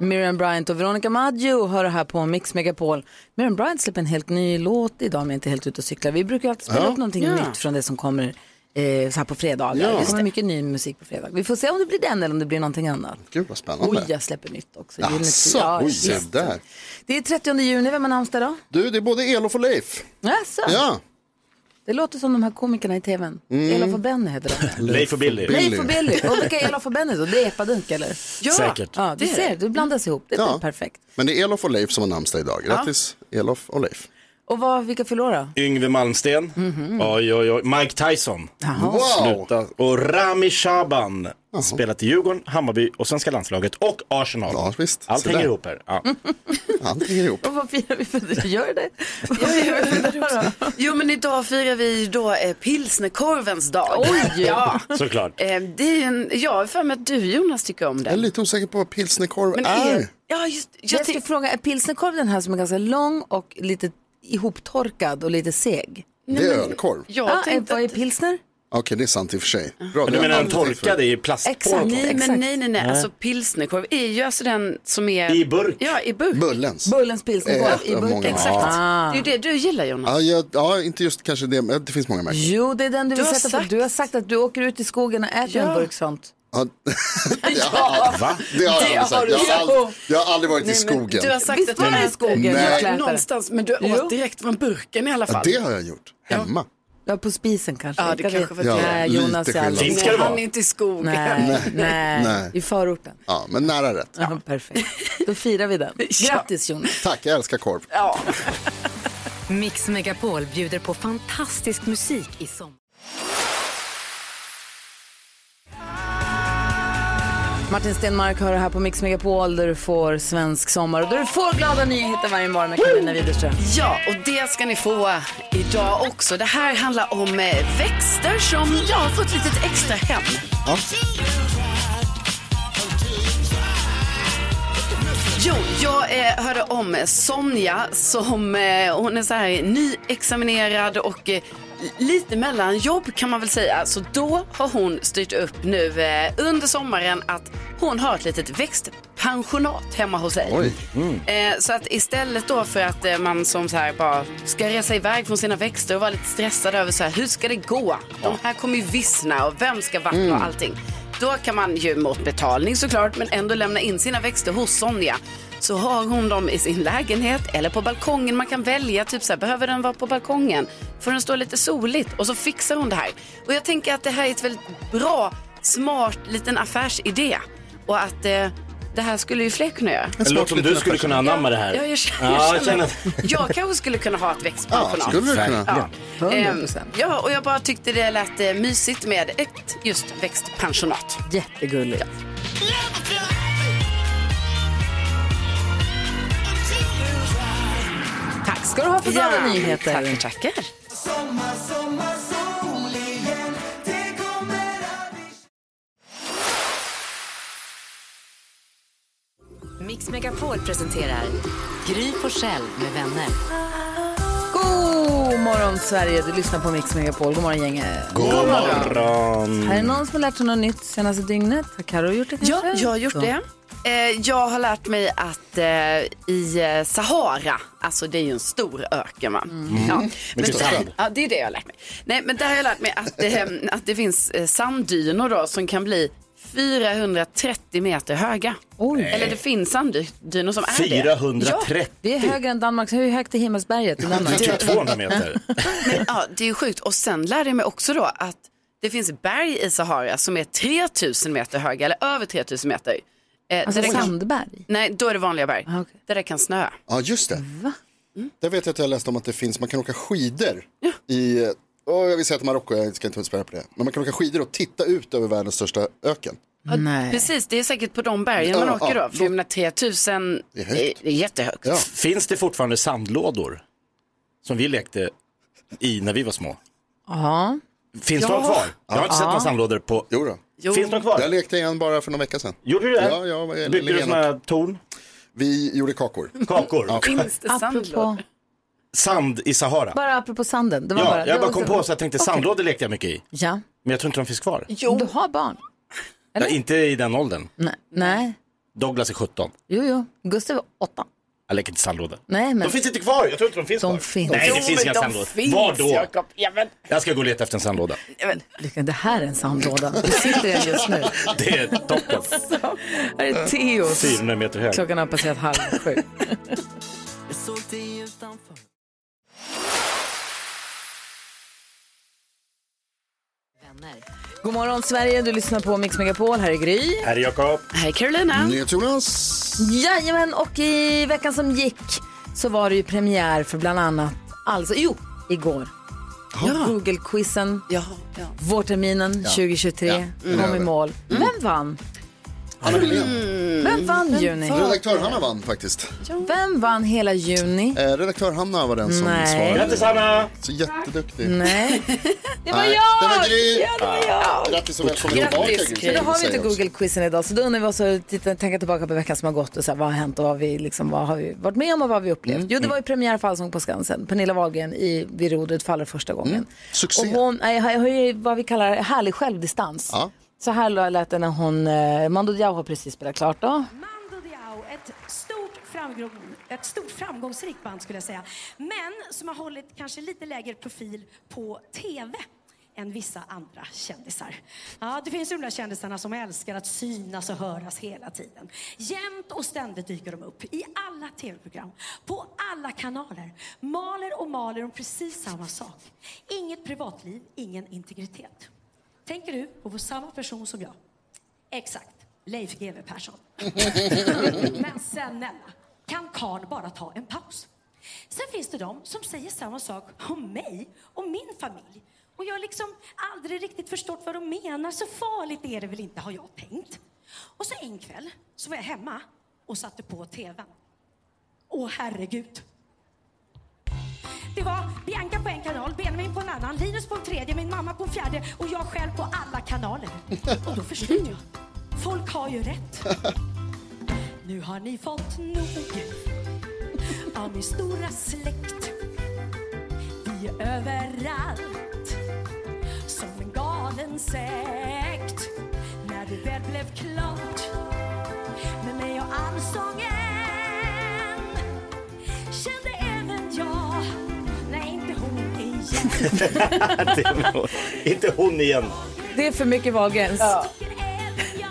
Miriam Bryant och Veronica Maggio hör det här på Mix Megapol. Miriam Bryant släpper en helt ny låt idag om jag inte är helt ute och cyklar. Vi brukar ju alltid spela Ja. upp någonting Ja. nytt från det som kommer eh, så här på fredagar. Ja. Det kommer mycket ny musik på fredag. Vi får se om det blir den eller om det blir någonting annat. Gud vad spännande. Oj, jag släpper nytt också. Gyllene Jaså, Tider. Ja, oj, visst. se där. det är 30 juni, vem har namnsdag då? Du, det är både Elof och Leif. Jaså? Ja. Det låter som de här komikerna i tvn. Mm. Elof och Benny heter de. Leif och Billy. Leif och Billy. Och vilka är Elof och Benny då? Det är Epadunk eller? Ja, Säkert. ja du ser, du blandas ihop. Det är Ja. perfekt. Men det är Elof och Leif som har namnsdag idag. Grattis Elof och Leif. Och vad, vilka förlorar då? Yngve Malmsten. Oj, oj, oj. Mike Tyson. Wow! Sluta. Och Rami Shaban. Spelat i Djurgården, Hammarby och svenska landslaget och Arsenal. Ja, visst. Allt Se hänger där. ihop här. Ja. Allt hänger ihop. Och vad firar vi för det? Gör det? Vad firar vi för det då? Jo men idag firar vi då eh, pilsnerkorvens dag. Oj! Ja. Såklart. Eh, det är en, jag har för mig att du Jonas tycker om Jag är den. lite osäker på vad pilsnerkorv Men är. är, ja, just, jag Jag ska tyck, fråga, är pilsnerkorv den här som är ganska lång och lite ihoptorkad och lite seg? Det är ölkorv. jag Ja, är, tänkte vad är att, pilsner? Okej, det är sant i och för sig. Bra, Men det du har menar jag den aldrig tänkt förut. torkade i plastpålar? Exakt. nej, Exakt. men nej, nej, nej. Alltså pilsnerkorv är ju alltså den som är... I burk. Ja, i burk. Bullens. Bullens pilsnerkorv Ett i av burken. många. Exakt. Ah. Det är ju det du gillar Jonas. Ja, jag, ja, inte just kanske det, men det finns många märken. Jo, det är den du, Du vill har sätta på. sagt- Du har sagt att du åker ut i skogen och äter en burk sånt. Ja. ja. Va? Det har Det jag aldrig har sagt. du Jag har sagt. aldrig, jag har aldrig varit i skogen. Du har sagt Visst att var du det i äter- skogen? Nej. Jag klätar. Någonstans, men du åt Jo. direkt från burken i alla Ja, fall. det har jag gjort. Hemma. Ja, på spisen kanske. Ja, det Jag kanske vet. var det. Nej, Ja, Jonas lite är alltid... skillnad. Fint ska det Nej, vara. han är inte i skogen. Nej, nej, Nej. i förorten. Ja, men nära rätt. Ja, perfekt. Då firar vi den. Grattis Jonas. Tack, jag älskar korv. Mix Megapol bjuder på fantastisk musik i sommar. Martin Stenmark har det här på Mix Megapol där du får svensk sommar och där du får glada nyheter varje morgon med Karolina Widerström. Ja, och det ska ni få idag också. Det här handlar om eh, växter som jag har fått ett litet extra hem. Ja. Jo, jag eh, hörde om Sonja som eh, hon är så här nyexaminerad och eh, lite mellan jobb kan man väl säga. Så då har hon styrt upp nu eh, under sommaren att hon har ett litet växtpensionat hemma hos sig. Oj. Eh, så att istället då för att eh, man som så här bara ska resa iväg från sina växter och vara lite stressad över så här, hur ska det gå? De här kommer ju vissna och vem ska vattna och allting. Då kan man ju mot betalning såklart men ändå lämna in sina växter hos Sonja. Så har hon dem i sin lägenhet eller på balkongen. Man kan välja, typ så här, behöver den vara på balkongen? Får den stå lite soligt? Och så fixar hon det här. Och jag tänker att det här är ett väldigt bra, smart liten affärsidé. Och att eh, det här skulle ju fler kunna göra. Det låter som du skulle kunna anamma det här. Ja, jag känner, Ja, jag, jag känner känner. att- jag kanske skulle kunna ha ett Ja, växtpensionat. skulle du kunna. Verkligen. Ehm, 100%. ja, och jag bara tyckte det lät eh, mysigt med ett just växtpensionat. Jättegulligt. Tack ska du ha för glada nyheter. Tackar, tackar. Mix Megapol presenterar Gry Forssell med vänner. God morgon Sverige, du lyssnar på Mix Megapol. God morgon gänget. God morgon. Här är någon som har lärt sig något nytt senaste dygnet. Har Karo gjort det kanske? Ja, jag har gjort Så. det. Eh, jag har lärt mig att eh, i eh, Sahara, alltså det är ju en stor öken va? Ja, men, Mycket sand. ja, det är det jag har lärt mig. Nej, men där har jag lärt mig att, eh, att det finns eh, sanddynor då som kan bli 430 meter höga. Oj. Eller det finns sanddynor som är det. 430. Det är högre än Danmarks. Hur högt är Himmelsberget i Det är Danmark? typ 200 meter. Men, ja, det är ju sjukt. Och sen lärde jag mig också då att det finns berg i Sahara som är 3000 meter höga, eller över 3000 meter. Eh, Alltså där det kan- Sandberg. Nej, då är det vanliga berg. Ah, okej. Där det kan snöa. Ja, just det. Mm. Där vet jag att jag läste om att det finns, man kan åka skidor i, eh, åh, jag vill säga att Marocko, jag ska inte svära på det. Men man kan åka skidor och titta ut över världens största öken. Nej. Precis, det är säkert på de bergen man Ja, åker ja, då. För jag menar 3000 Det är är, högt. är jättehögt. Ja. Finns det fortfarande sandlådor? Som vi lekte i när vi var små. Ja. Finns Ja. de kvar? Jag har inte sett några sandlådor på... Jo då. Finns de kvar? Jag lekte igen bara för några veckor sedan. Gjorde du det? Ja, ja, vad är det? Byggde du Lena- såna här torn? Vi gjorde kakor. Mm. Kakor? Finns det Apropå, sandlådor? Sand i Sahara? bara apropå sanden. Det var Ja, bara, jag det bara var- kom på så jag tänkte sandlådor lekte jag mycket i. Ja. Men jag tror inte de finns kvar. Du har barn? Ja, inte i den åldern. Nej. Nej. Douglas är 17. Jo, jo. Gustav är åtta. Jag leker inte sandlåda. Nej, men De finns inte kvar, jag tror inte de finns De kvar. finns. Nej, Jo, det finns inga de sandlådor. finns, Var då? Jakob. Ja, men, Jag ska gå och leta efter en sandlåda. ja, men. Lycka, det här är en sandlåda. Du sitter i den just nu. Det är toppen. Här är Theoz. 400 meter hög. Klockan har passerat halv sju. God morgon Sverige, du lyssnar på Mix Megapol. Här är Gry. Här är Jakob. Hej Carolina. NyhetsJonas. Jajamän, och i veckan som gick så var det ju premiär för bland annat, alltså, jo, igår. Google-quizen, Ja, ja. vårterminen 2023, kom i mål. Vem vann? Hanna Mm. Billén. Vem vann juni? Redaktör Hanna vann faktiskt. Vem vann hela juni? Eh, redaktör Hanna var den som Nej. svarade. Grattis Hanna! Så jätteduktig. Nej. Det var Nej, jag! det var Gry. Ja, det var jag! Grattis och välkommen tillbaka. Grattis, Gry. Gry. Men då har vi inte Säger också. Google-quizen idag, så då undrar vi oss att titta, tänka tillbaka på veckan som har gått och så här, vad har hänt och vad, har vi, liksom, vad har vi varit med om och vad har vi upplevt. Mm, Jo, det var ju premiär för Allsång på Skansen. Pernilla Wahlgren i Vid rodret faller första gången. Mm. Succé. Och hon nej, jag har ju vad vi kallar härlig självdistans. Ja. Så här lät det när hon, eh, Mando Diao har precis spelat klart då. Mando Diao, ett stort, framgång, ett stort framgångsrikt band skulle jag säga. Men som har hållit kanske lite lägre profil på TV än vissa andra kändisar. Ja, det finns ju de där kändisarna som älskar att synas och höras hela tiden. Jämt och ständigt dyker de upp i alla tv-program, på alla kanaler. Maler och maler om precis samma sak. Inget privatliv, ingen integritet. Tänker du på samma person som jag? Exakt. Leif GW Persson. Men snälla, kan karln bara ta en paus? Sen finns det de som säger samma sak om mig och min familj. Och jag har liksom aldrig riktigt förstått vad de menar. Så farligt är det väl inte, har jag tänkt. Och så en kväll så var jag hemma och satte på tvn. Åh herregud. Det var Bianca på en kanal, Benjamin på en annan, Linus på en tredje, min mamma på en fjärde och jag själv på alla kanaler. Och då förstod jag. Folk har ju rätt. Nu har ni fått nog av min stora släkt. Vi är överallt som en galen sekt. När det väl blev klart med mig och allsången kände även jag, nej inte hon igen. inte hon igen. Det är för mycket Wahlgrens. Tycker även jag,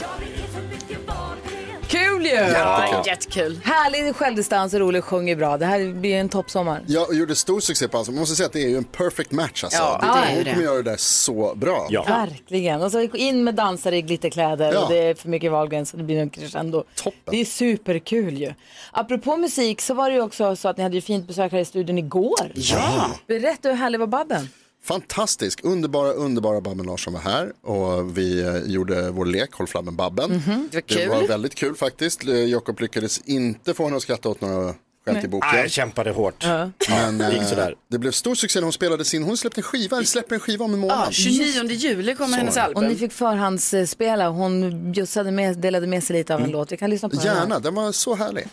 ja det är för mycket valfrihet. Kul ju! Ja, jättekul. Härlig självdistans och rolig, sjunger bra. Det här blir en toppsommar. Jag gjorde stor succé på Allsång. Man måste säga att det är ju en perfect match alltså. Ja, det Hon är ju det. kommer göra det där så bra. Ja. Verkligen. Och så in med dansare i glitterkläder Ja. och det är för mycket Wahlgren så det blir en crescendo. Toppen. Det är superkul ju. Apropå musik så var det ju också så att ni hade ju fint besök här i studion igår. Ja. Berätta hur härlig var Babben? Fantastisk, underbara, underbara Babben Larsson var här och vi eh, gjorde vår lek Håll flammen Babben. Mhm. Det var kul. var väldigt kul faktiskt. Eh, Jakob lyckades inte få henne att skratta åt några skämt i boken. Nej, jag kämpade hårt. Men det gick eh, sådär. det blev stor succé när hon spelade sin, hon släppte en skiva, eller släpper en skiva om en månad. Ja, 29 juli kommer hennes Och ni album. fick förhandsspela. Hon bjussade med, delade med sig lite av en låt. Vi kan lyssna på den här. Mm. Gärna, den var så härlig.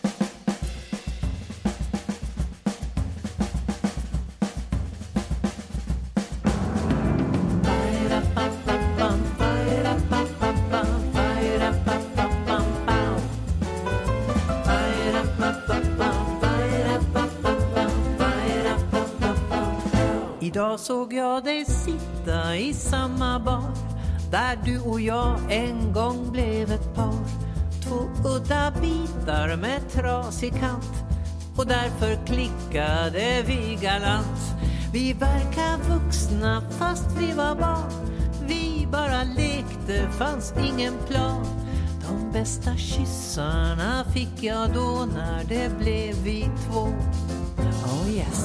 Idag såg jag dig sitta i samma bar där du och jag en gång blev ett par. Två udda bitar med trasig kant och därför klickade vi galant. Vi verkar vuxna fast vi var barn. Vi bara lekte, fanns ingen plan. De bästa kyssarna fick jag då när det blev vi två. Oh yes.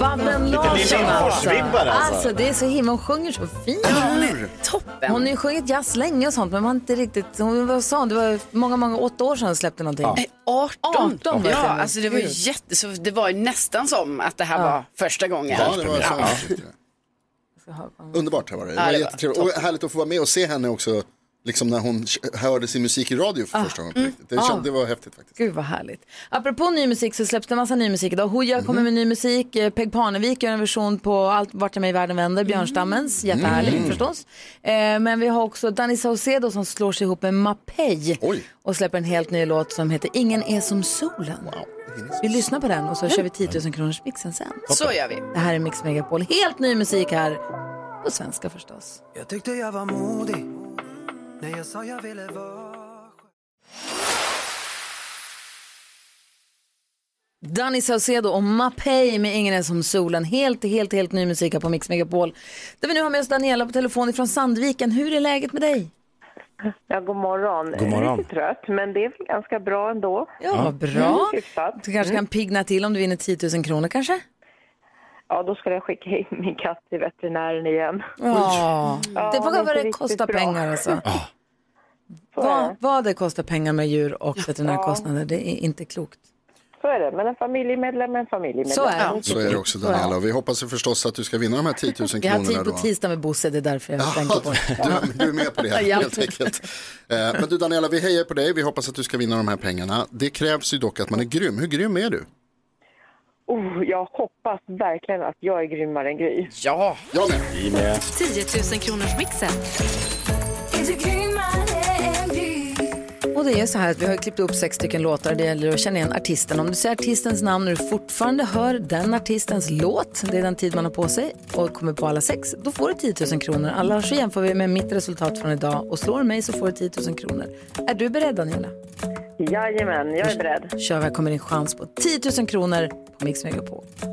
Babben Larsson. Göteborgsvibbar alltså. Alltså det är så himla, hon sjunger så fint. Toppen. Hon har ju sjungit jazz länge och sånt men man har inte riktigt, hon, vad sa hon, det var många, många, åtta år sedan hon släppte någonting. Nej, 18. 18 var ja, det sen. alltså det var ju Gud. jätte, så det var ju nästan som att det här var första gången. Ja, det var så. Ja. Underbart här var det. Det Ja, var det var jättetrevligt. Och härligt att få vara med och se henne också. Liksom när hon hörde sin musik i radio Ah, för första gången. på mm. riktigt. Det, kände, det var häftigt faktiskt. Gud vad härligt. Apropå ny musik så släpps det en massa ny musik idag. Hooja Mhm. kommer med ny musik, Eh, Peg Parnevik gör en version på Allt vart jag mig i världen vänder, Mhm. Björnstammens, jättehärlig förstås. Eh, men vi har också Danny Saucedo som slår sig ihop med Mapei Oj. och släpper en helt ny låt som heter Ingen är som solen. Vi lyssnar på den och så kör vi 10 000 kronors mixen sen. Så gör vi. Det här är Mix Megapol, helt ny musik här på svenska förstås. Jag tyckte jag var modig när jag sa jag ville vara Danny Saucedo och Mapei med Ingen är som solen. Helt, helt, helt ny musik här på Mix Megapol. Där vi nu har med oss Daniela på telefon ifrån Sandviken. Hur är läget med dig? Ja, god morgon. God morgon. Lite trött, men det är väl ganska bra ändå. Ja, vad bra. Hyfsat. Du kanske kan pigna till om du vinner 10 000 kronor kanske? Ja, då ska jag skicka in min katt till veterinären igen. Ja, det Ja, får det är vad det inte kostar riktigt bra. pengar alltså. Så är Vad, det. vad det kostar pengar med djur och veterinärkostnader, det är inte klokt. Så är det. Men en familjemedlem är en familjemedlem. Så är det. Så är det också Daniela. Och vi hoppas ju förstås att du ska vinna de här 10 000 Vi har tid kronorna. på då. tisdag med Bosse, det är därför jag tänker på Ja, det. du, du är med på det Ja. helt enkelt. Eh, Men du Daniela, vi hejar på dig. Vi hoppas att du ska vinna de här pengarna. Det krävs ju dock att man är grym. Hur grym är du? Oh, jag hoppas verkligen att jag är grymmare än Gry. Ja, Jag med. 10 000 kronors mixen. Och det är så här att vi har klippt upp sex stycken låtar. Det gäller att känna igen artisten. Om du säger artistens namn och du fortfarande hör den artistens låt, det är den tid man har på sig och kommer på alla sex, då får du 10 000 kronor. Annars så jämför vi med mitt resultat från idag och slår mig så får du 10 000 kronor. Är du beredd Daniela? Jajamän, jag är beredd. Kör vi, här kommer din chans på 10 000 kronor på Mix Megapol. Eh,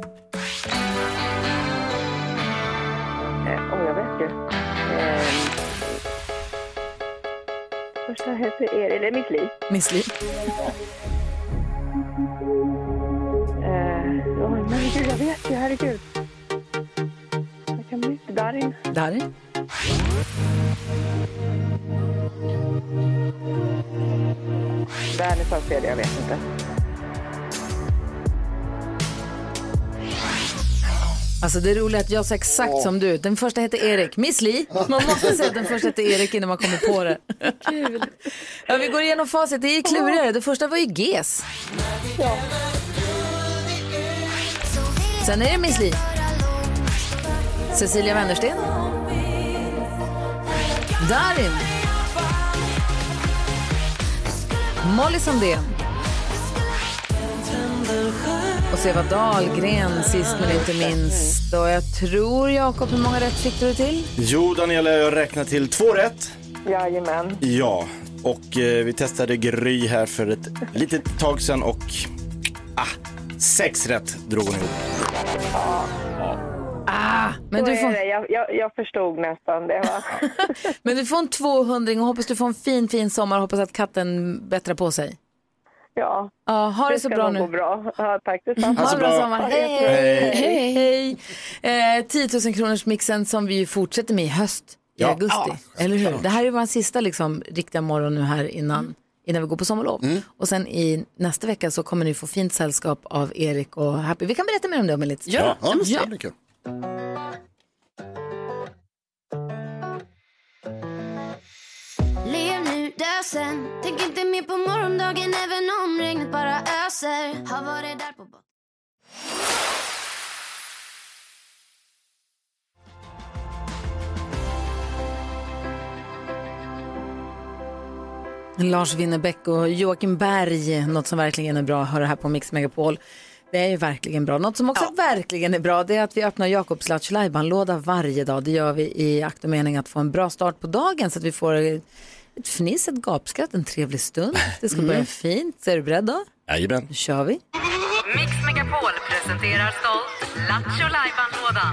oh, jag vet ju. Eh, första heter er, eller mitt liv. Miss Li. Eh, oh, men gud, jag vet ju. Herregud. Jag kan bli inte Darin. Darin. Darin sa fel, jag vet inte. Alltså det roliga är att jag sa exakt som du. Den första heter Erik. Miss Li. Man måste säga att den första heter Erik innan man kommer på det. Kul. Ja, vi går igenom facit. Det är klurigare. Det första var ju GES. Sen är det Miss Li. Cecilia Wennersten. Darin. Molly Sandén. Och så Eva Dahlgren sist men inte minst. Och jag tror, Jakob, hur många rätt fick du till? Jo, Daniela, jag räknar till två rätt. Jajamän. Ja, och eh, vi testade Gry här för ett litet tag sedan och ah, sex rätt drog hon ihop. Men du Så får... är det. Jag, jag, jag förstod nästan det. Va? Men du får en 200 och hoppas du får en fin, fin sommar och hoppas att katten bättrar på sig. Ja, Ja, ha det så ska bra nog gå nu. bra. Ja, tack detsamma. Ha så en bra bra. sommar. Hej! Hej! Hej. Eh, 10 000 kronors mixen som vi ju fortsätter med i höst, i Ja. augusti. Eller hur? Det här är vår sista liksom, riktiga morgon nu här innan, innan vi går på sommarlov. Och sen i nästa vecka så kommer ni få fint sällskap av Erik och Happy. Vi kan berätta mer om det om en liten stund. Ja, det blir kul. Lev nu, dö sen Tänk inte mer på morgondagen även om regnet bara öser Har varit där på botten Lars Winnerbäck och Joakim Berg, något som verkligen är bra, hör det här på Mix Megapol. Det är ju verkligen bra. Något som också verkligen är bra det är att vi öppnar Jakobs Lattjo låda varje dag. Det gör vi i akt och mening att få en bra start på dagen så att vi får ett fniss, ett gapskratt, en trevlig stund. Det ska börja fint. Är du beredd då? Jajamän. Nu kör vi. Mix Megapol presenterar stolt Lattjo Lajban-lådan.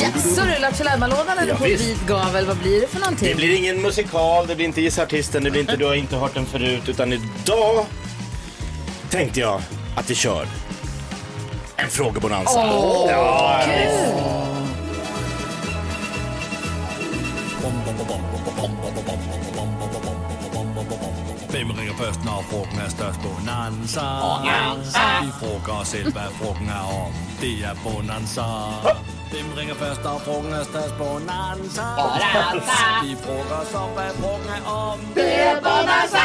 Yes, så rullar Tjolajban-lådan eller Ja, på visst. vit gavel. Vad blir det för någonting? Det blir ingen musikal, det blir inte Gissa Artisten, det blir inte Du har inte hört den förut, utan idag tänkte jag att vi kör en frågebonanza. Åh, ja, kul! visst. Vem ringer först när frågan är störst? Bonanza! Bonanza. Vi frågar oss själva vad frågan är om. Det är bonanza! Vem ringer först när frågan är störst? Bonanza! Bonanza. Vi frågar oss om vad frågan är om. Det är bonanza!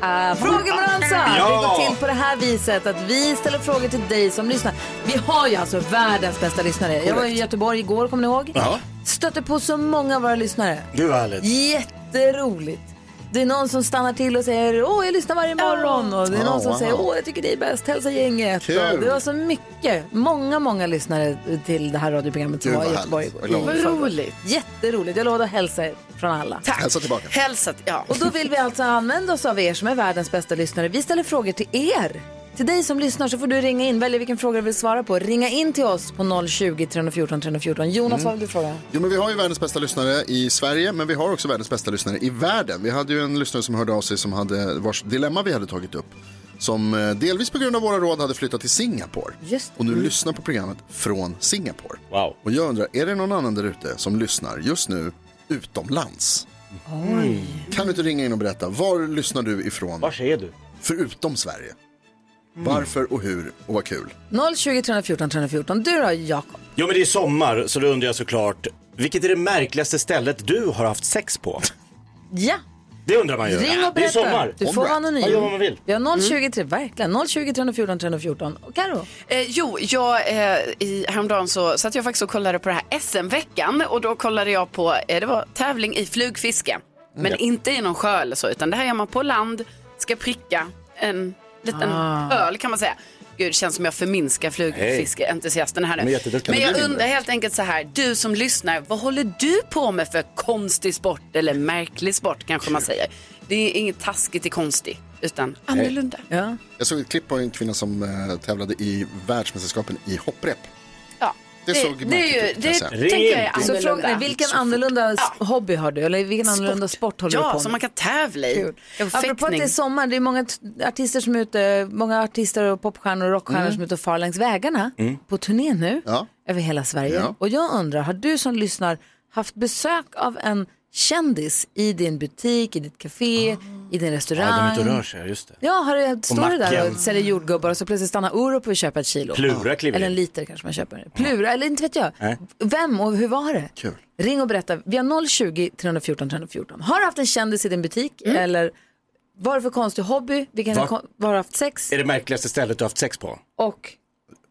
Ah, Frågebonanza! Ja! Det går till på det här viset att vi ställer frågor till dig som lyssnar. Vi har ju alltså världens bästa lyssnare. Jag var i Korrekt. Göteborg igår, kommer ni ihåg? Ja. Stötte på så många av våra lyssnare. Gud vad härligt. Jätteroligt. Det är någon som stannar till och säger åh, jag lyssnar varje morgon. Och det är Ja, någon som wow. säger åh, jag tycker det är bäst, hälsa gänget. Kul. Och Det var så mycket, många, många lyssnare till det här radioprogrammet som Gud, var i vad Göteborg härligt. igår. Vad glad I jag är. förrgår. Jätteroligt. Jag lovade att hälsa er från alla. Hälsa tillbaka. Hälsa, ja. Och då vill vi alltså använda oss av er som är världens bästa lyssnare. Vi ställer frågor till er. Till dig som lyssnar så får du ringa in, välja vilken fråga du vill svara på. Ringa in till oss på 020 314 314. Jonas, Mm. vad vill du fråga? Jo, men vi har ju världens bästa lyssnare i Sverige, men vi har också världens bästa lyssnare i världen. Vi hade ju en lyssnare som hörde av sig som hade, vars dilemma vi hade tagit upp. Som eh, delvis på grund av våra råd hade flyttat till Singapore. Just Och nu lyssnar på programmet från Singapore. Wow. Och jag undrar, är det någon annan där ute som lyssnar just nu utomlands? Kan du inte ringa in och berätta, var lyssnar du ifrån? Var är du? Förutom Sverige. Varför och hur och vad kul. 020 314 314. Du då, Jakob? Jo men det är sommar så då undrar jag såklart, vilket är det märkligaste stället du har haft sex på? Ja, Det undrar man ju. ring och det är berätta. sommar. Du får vara anonym. Ja, gör vad man vill. Mm. Vi har 020, tre- verkligen, 020 314 314. Och Karo? Eh, jo, jag, eh, i, häromdagen så satt jag faktiskt och kollade på det här SM-veckan och då kollade jag på, eh, det var tävling i flugfiske. Men Mm. inte i någon sjö eller så, utan det här gör man på land, ska pricka en liten Ah. öl kan man säga. Gud, det känns som jag förminskar flugfiskeentusiasterna här nu. De är jätteduktiga. Men jag Det blir undrar helt enkelt så här, du som lyssnar, vad håller du på med för konstig sport eller märklig sport kanske man säger. Det är inget taskigt i konstig, utan annorlunda. Ja. Jag såg ett klipp på en kvinna som eh, tävlade i världsmästerskapen i hopprep. Ja, Det såg det, märkligt är ju, ut, kan jag det säga. tänker jag Alltså, är Så frågan är, annorlunda. vilken annorlunda s- hobby har du? Eller vilken annorlunda sport håller ja, du på med? som man kan tävla i. Kul. Kanske Apropå att det är fäktning. sommar, det är många t- artister som är ute, många artister och popstjärnor och rockstjärnor Mm. som är ute och far längs vägarna Mm. på turné nu Ja. över hela Sverige. Ja. Och jag undrar, har du som lyssnar haft besök av en kändis i din butik, i ditt café, i din restaurang? Ja, Ah. de är ute och rör sig, just det. Ja, har du, står du där macken. och säljer jordgubbar och så plötsligt stannar Orup och köper ett kilo? Plura kliver Eller in. en liter kanske man köper. Plura, eller inte vet jag. Nej. Vem och hur var det? Kul. Ring och berätta. Vi har 020 314 314. Har du haft en kändis i din butik? Mm. Eller vad är det för konstig hobby? Vilken Va? kon- vad har du haft sex? Är det märkligaste stället du har haft sex på? Och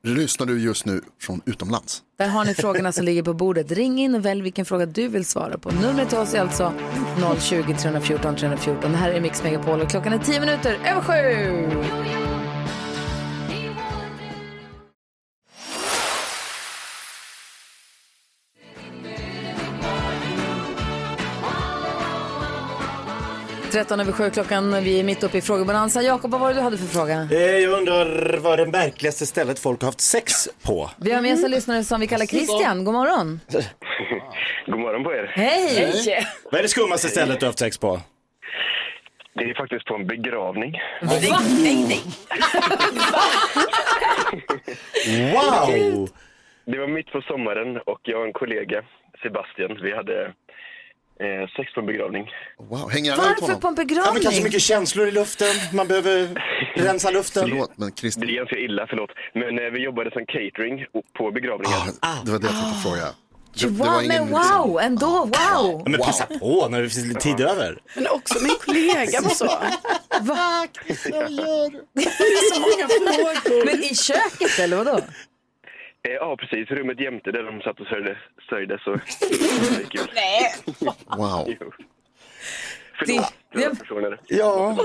Lyssnar du just nu från utomlands? där har ni frågorna som ligger på bordet. Ring in och välj vilken fråga du vill svara på. Numret till oss är alltså 020 314 314. Det här är Mix Megapol och klockan är 10 minuter över sju. Tretton över sju klockan, vi är mitt uppe i frågebonanza. Jakob, vad var det du hade för fråga? Eh, Jag undrar vad är det märkligaste stället folk har haft sex på? Vi har med Mm. oss en lyssnare som vi kallar Christian. God morgon. God morgon på er. Hej! Hej. Vad är det skummaste stället du har haft sex på? Det är faktiskt på en begravning. Va? Nej, nej. Wow! Det var mitt på sommaren och jag och en kollega, Sebastian, vi hade eh, sex på en begravning. Wow, hänger jag ut Varför honom? på en begravning? Ja, men kanske mycket känslor i luften. Man behöver rensa luften. Förlåt, men Christer. Det är ganska illa, förlåt. Men eh, vi jobbade som catering o- på begravningen. Ah, det var det jag tänkte fråga. Wow, men wow, ändå wow. Ja, men passa på när det finns lite tid över. Men också min kollega på så. Va? Vad gör du? Det är så många frågor. Men i köket eller vadå? Eh, ja, precis. Rummet jämte där de satt och sörjde. sörjde så. Nej. Wow. Förlåt, det var personer. Oh, Ja.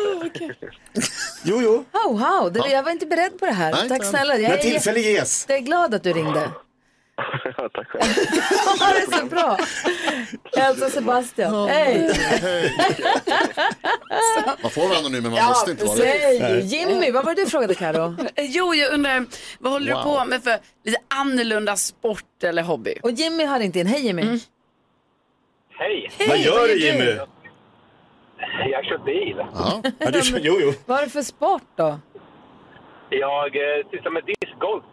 Jo, jo. Ho, ho. Det, jag var inte beredd på det här. Nej, Tack inte. snälla. Jag När är tillfälle ges. Jag är glad att du ringde. Tack själv. Ha det så bra! Hälsa Sebastian. Hej! Man får vara anonym men man Ja, måste inte vara säg. det. Jimmy, vad var det du frågade Karo? Jo, jag undrar, vad håller Wow. du på med för lite annorlunda sport eller hobby? Och Jimmy har inte in. Hej Jimmy! Mm. Hej! Hej, Vad gör vad gör du, Jimmy? du? Jag kör bil. Ja, du, jo, jo. Vad är det för sport då? Jag eh, sysslar med discgolf.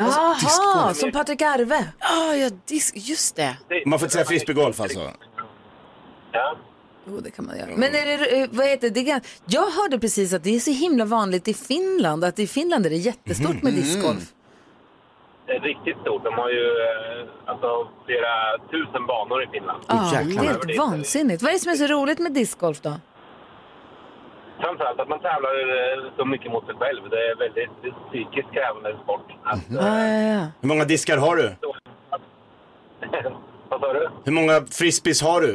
Alltså, Jaha, som Patrik Arve. Ja, ja, disk, just det. Man får inte säga frisbeegolf alltså. Jo, det kan man göra. Men är det, eh, vad heter det? det? Jag hörde precis att det är så himla vanligt i Finland, att i Finland är det jättestort med Mhm. discgolf. Det är riktigt stort. De har ju eh, alltså, flera tusen banor i Finland. Ja, det är helt vansinnigt. Vad är det som är så roligt med discgolf då? Framförallt att man tävlar eh, så mycket mot sig själv. Det är väldigt psykiskt krävande sport. Att, eh, Hur många diskar har du? Vad sa du? Hur många frisbees har du?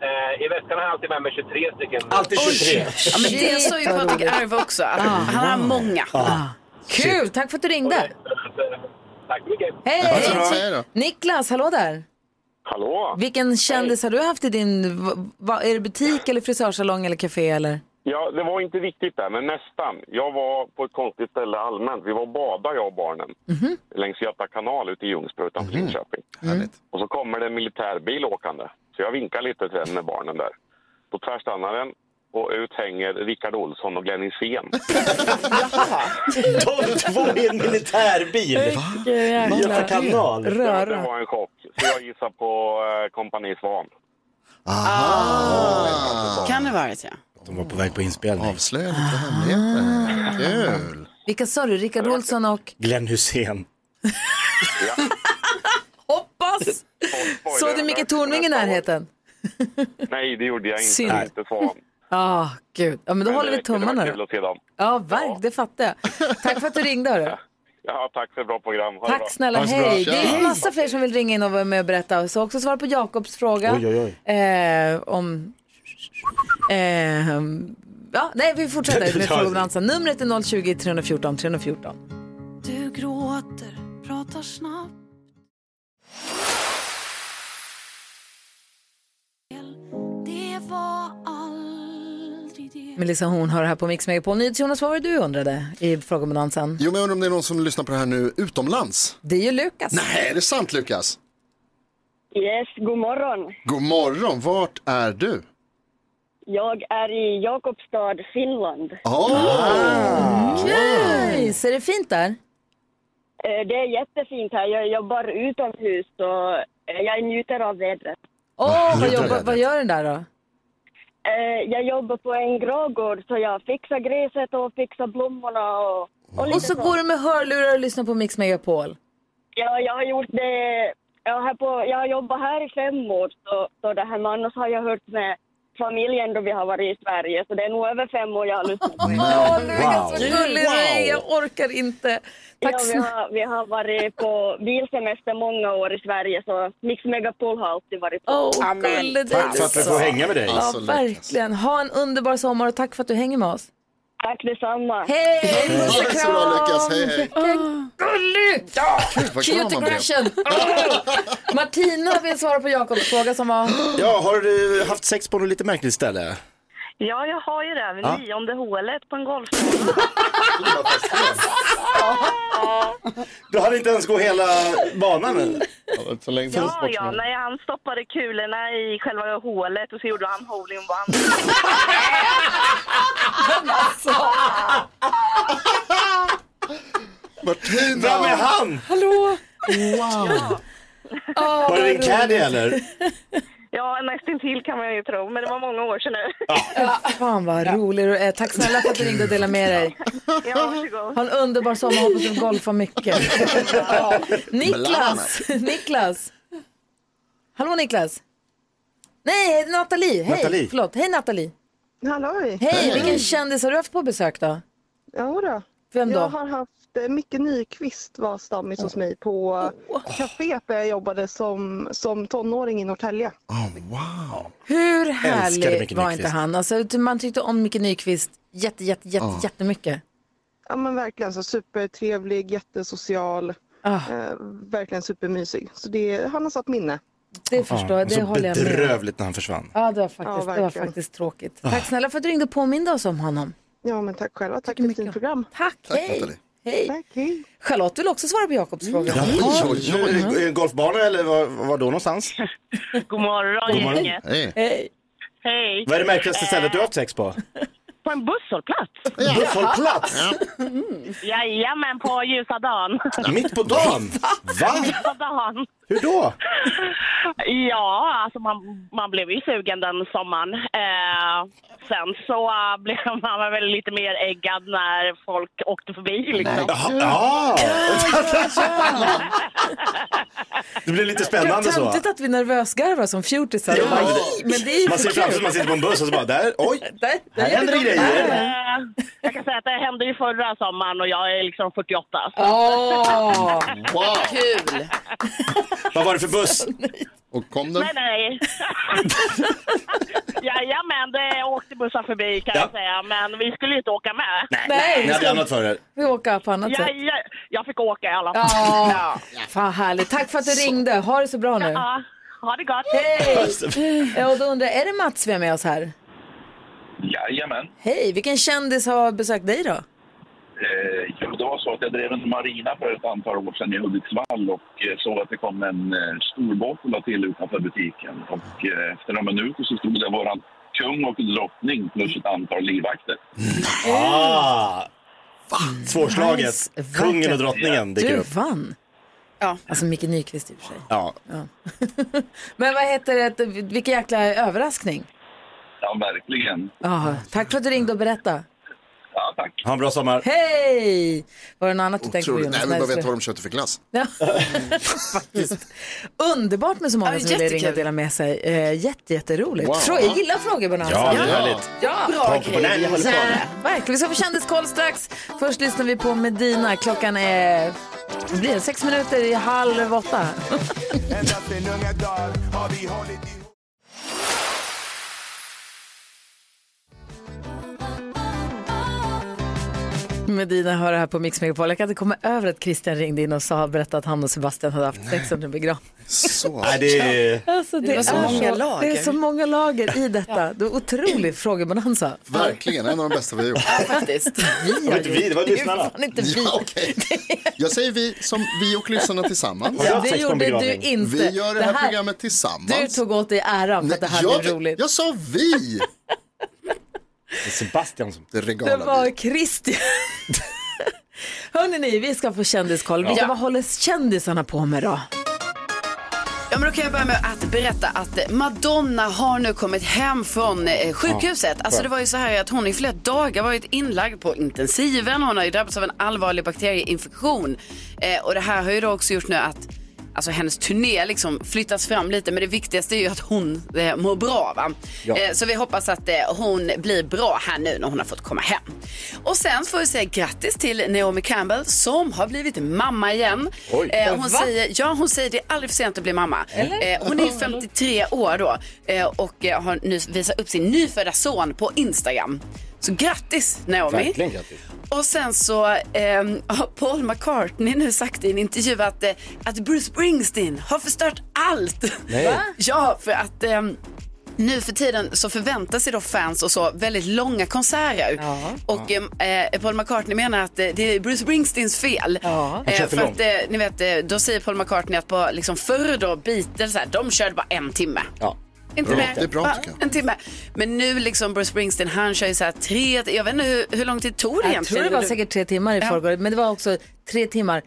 Eh, I väskan har jag alltid med mig 23 stycken. Alltid 23. Ja, men det sa ju Patrik Arve också, att han har många. Kul, tack för att du ringde. Tack så mycket. Hej! Niklas, hallå där. Hallå? Vilken kändis har du haft i din, va- va, är det butik eller frisörsalong eller café eller? Ja, det var inte riktigt där, men nästan. Jag var på ett konstigt ställe allmänt. Vi var och badade, jag och barnen, Mhm. längs Göta kanal ute i Ljungsbro utanför Linköping. Och så kommer det en militärbil åkande. Så jag vinkar lite till den med barnen där. Då tvärstannar den och ut hänger Rickard Olsson och Glenn Hysén. De två i en militärbil. jävla Göta kanal. Ja, det var en chock. Så jag gissar på eh, Kompani Svan. Kan det vara det, ja. De var på väg på inspelning. Avslöja lite hemligheter. Kul! Vilka sa du? Rickard Olsson och? Glenn Hussein. Hoppas! Såg du Micke Tornving i närheten? Nej, det gjorde jag inte. Synd. Jag hette Svan. Ja, gud. Ja, men då Men eh, håller det vi räcker, det var tummarna kul då. att se dem. Ja, verk, det fattar jag. Tack för att du ringde hörru. Ja, tack för ett bra program. Ha det bra. Tack snälla, hej. Det är massa fler som vill ringa in och vara med och berätta. Så också svara på Jakobs fråga. Oj, oj, Eh, om... Eh, ja, nej, vi fortsätter med Ja. frågebalansen. Numret är 020 314 314. Du gråter, pratar snabbt. Det var aldrig det. Melissa Horn har det här på Mix Megapol. Nyhets Jonas, vad var det du undrade i frågebalansen? Jo men jag undrar om det är någon som lyssnar på det här nu utomlands? Det är ju Lukas. Nej, är det sant Lukas? Yes, god morgon. God morgon, vart är du? Jag är i Jakobstad, Finland. Åh! Nice! Är det fint där? Eh, Det är jättefint här. Jag jobbar utomhus och eh, jag njuter av vädret. Åh, vad, jobbar, vad gör den där då? Eh, Jag jobbar på en gravgård så jag fixar gräset och fixar blommorna och, och lite Och så går du med hörlurar och lyssnar på Mix Megapol. Ja, jag har gjort det. Jag har, här på, jag har jobbat här i fem år så, så det här med annars har jag hört med familjen då vi har varit i Sverige så det är nog över fem år jag har lyssnat på Åh, er. Lukas, vad gullig du är. Jag orkar inte. Tack ja, vi, snälla. har, vi har varit på bilsemester många år i Sverige så Mix Megapol har alltid varit på. Åh, gulle du. Tack för att vi får hänga med dig. Ja, Alltså, Lukas. verkligen. Ha en underbar sommar och tack för att du hänger med oss. Tack detsamma. Hej! Ha det så bra, Lukas. Hej, hej. Vilken gullig! Ja, Gud, vad glad Cutie man blev. crashen. Åh! Martina vill svara på Jakobs fråga som var... Ja, har du haft sex på något lite märkligt ställe? Ja, jag har ju det. Vid Ja. nionde hålet på en golfbana. Du hade inte ens gått hela banan? eller? ja, ja, nej, han stoppade kulorna i själva hålet och så gjorde han hole in one. Martina! Vem är han? Hallå! Wow. Var det din caddy eller? Ja, nästintill kan man ju tro, men det var många år sedan nu. Ja, Fan vad rolig du är. Tack snälla för att du ringde och delade med dig. Ja, varsågod. Ha en underbar sommar. Hoppas du golfar mycket. Ja. Niklas! Niklas! Hallå Niklas! Nej, Nathalie. Hej! Nathalie. Förlåt. Hej Nathalie! Halloj! Hej! Vilken kändis har du haft på besök då? Ja, då. Vem då? Jag har haft eh, Micke Nyqvist var stammis hos mig på oh. kaféet där jag jobbade som, som tonåring i Norrtälje. Hur Älskade härlig Micke var Nyqvist. inte han? Alltså, man tyckte om Micke Nyqvist jätte, jätte, jätte, Ja. jättemycket. Ja men verkligen så supertrevlig, jättesocial. Ah, Eh, verkligen supermysig. Så det, han har satt minne. Det förstår jag, det håller jag med om. bedrövligt när han försvann. Ja, det var, faktiskt, Ja, det var verkligen. faktiskt tråkigt. Tack snälla för att du ringde och påminde oss om honom. Ja, men tack själva. Tack för ett fint program. Tack, hej. hej. Charlotte vill också svara på Jakobs fråga. Oj, oj, oj. Är det Golfbana eller var, var då någonstans? God morgon, God morgon. gänget. Hej. Hej. Vad är det märkligaste stället du har haft sex på? På en busshållplats. Busshållplats? Jajamän, på ljusa dagen. Mitt på dagen? Va? Mitt på dagen. Hur då? Ja, alltså man, man blev ju sugen den sommaren. Eh, sen så eh, blev man väl lite mer äggad när folk åkte förbi. Liksom. Ja! Det blir lite spännande så. Töntigt att vi nervösgarvar som fjortisar. och bara, "Ih", Men det är ju Man ser för framför sig att kul. man sitter på en buss och så bara, där, oj, där, här händer det grejer. Eh, jag kan säga att det hände ju förra sommaren och jag är liksom 48. så- Åh, wow. Kul! Vad var det för buss? Och kom Nej, nej. Jajamän, det åkte bussar förbi kan jag Ja. säga. Men vi skulle ju inte åka med. Nej, Ni hade annat för er. Vi åker på annat Ja, sätt. ja, jag fick åka i alla fall. Ja, fan härligt. Tack för att du ringde. Ha det så bra nu. Ja, ha det gott. Hej! Ja, och då undrar jag, är det Mats vi har med oss här? Jajamän. Hej, vilken kändis har besökt dig då? Eh, jo, det var så att jag drev en marina för ett antal år sedan i Hudiksvall och eh, såg att det kom en eh, storbåt och la till utanför butiken. Och eh, efter några minuter så stod det våran kung och drottning plus ett antal livvakter. Ah, svårslaget. Nice. Vackert. Kungen och drottningen dyker Du upp. vann. Ja. Alltså Micke Nyqvist i och för sig. Ja. Ja. Men vad heter det, vilken jäkla överraskning. Ja, verkligen. Ja, tack för att du ringde och berättade. Ja, tack. Ha en bra sommar. Hej! Var det något annat du tänkte på Otroligt. Jonas? Nej, vi bara det vet vad skulle- de köpte för glass. Underbart med så många Ja, som vill jättekul. ringa och dela med sig. Eh, jätte, jätteroligt. Wow. Frå- jag gillar frågebonanza. Ja, det är härligt. Ja. Bra Pontus grejer. Bonanza håller på med. Verkligen. Vi ska få kändiskoll strax. Först lyssnar vi på Medina. Klockan är det blir sex minuter i halv åtta. Ända sedan unga dagar har vi hållit ihop Medina hör det här på Mix Megapol. Jag kan inte komma över att Christian ringde in och sa berättade att han och Sebastian hade haft sex under begravningen. Så. Nej, det är... Alltså, Det var så många lager. det är så många lager i detta. Det är otrolig frågebonanza. Verkligen, en av de bästa vi har gjort. Faktiskt. Vi har gjort det. Det är ju fan inte vi. Ja, okej. Jag säger vi som vi och lyssnarna tillsammans. Ja, det gjorde du inte. Vi gör det här, Det här- programmet tillsammans. Du tog åt dig äran för att det här jag, blev roligt. Jag sa vi. Sebastian som... Det Det regalar var Christian. Hörrni, ni, vi ska få kändiskoll. Ja. Vilka, Vad håller kändisarna på med då? Ja, men då kan jag börja med att berätta att Madonna har nu kommit hem från eh, sjukhuset. Ja, Alltså det var ju så här att hon i flera dagar varit inlagd på intensiven. Hon har ju drabbats av en allvarlig bakterieinfektion. Eh, och det här har ju då också gjort nu att alltså, hennes turné liksom flyttas fram lite. Men det viktigaste är ju att hon eh, mår bra. Va? Ja. Eh, så vi hoppas att eh, hon blir bra här nu när hon har fått komma hem. Och sen får vi säga grattis till Naomi Campbell som har blivit mamma igen. Oj. Eh, hon, Va? säger, ja, hon säger det är aldrig för sent att bli mamma. Eller? Eh, hon är ju 53 år då eh, och eh, har nu visat upp sin nyfödda son på Instagram. Så grattis Naomi! Verkligen grattis. Och sen så eh, har Paul McCartney nu sagt i en intervju att, eh, att Bruce Springsteen har förstört allt. Nej. Va? Ja, för att eh, nu för tiden så förväntar sig då fans och så väldigt långa konserter. Och eh, Paul McCartney menar att eh, det är Bruce Springsteens fel. Han kör Eh, för för att, långt. eh, ni vet, eh, då säger Paul McCartney att på, liksom, förr då Beatles, så här, de körde bara en timme. Ja. Inte Bra. mer. Det är bra, Bara tycker En timme. Men nu liksom Bruce Springsteen, han kör ju så här tre, jag vet inte hur, hur lång tid tog det Jag tror egentligen? det var Du- säkert tre timmar i Ja. förrgår, men det var också tre timmar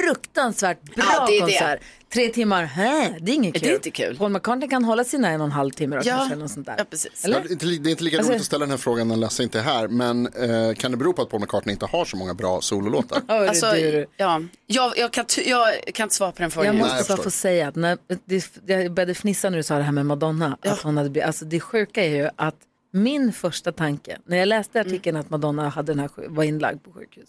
fruktansvärt bra Ja, det är det. konsert. Tre timmar, hä, det är inget kul. Det är inte kul. Paul McCartney kan hålla sina en och en halv timme då, Ja. kanske, eller något sånt där. Ja, precis. Ja, det är inte li- det är inte lika Alltså- roligt att ställa den här frågan när Lasse inte är här, men eh, kan det bero på att Paul McCartney inte har så många bra sololåtar? Alltså, ja, jag, jag, kan, ty- jag kan inte svara på den frågan. Jag Nej, måste jag bara få förstår. säga att när, det, jag började fnissa när du sa det här med Madonna. Att hon hade, blivit- alltså det sjuka är ju att min första tanke, när jag läste artikeln att Madonna hade den här, sjuk- var inlagd på sjukhus.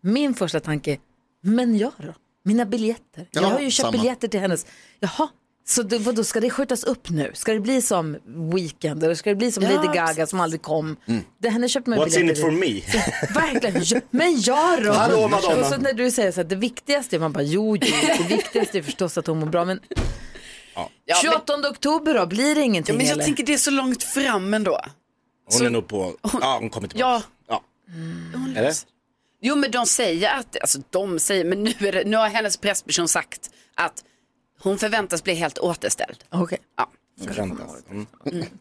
Min första tanke, men jag då? Mina biljetter? Ja, jag har ju köpt samma. biljetter till hennes. Jaha, Så då, vadå, ska det skjutas upp nu? Ska det bli som Weekend eller ska det bli som Ja, Lady Gaga precis. som aldrig kom? Det, henne köpte man What's biljetter in it for till. me? Verkligen, Ja, men jag då? Hallå, Madonna. Och så när du säger så här, det viktigaste, är- man bara jo, jo, det viktigaste är förstås att hon mår bra, men 28 oktober då, blir det ingenting Ja, men jag eller? tänker det är så långt fram ändå. Hon är nog på... Ja, hon kommer tillbaka. Ja. Ja. Hon- Eller? Jo men de säger att, alltså de säger, men nu, är det, nu har hennes pressperson sagt att hon förväntas bli helt återställd. Okej. Ja. Förväntas. Mm.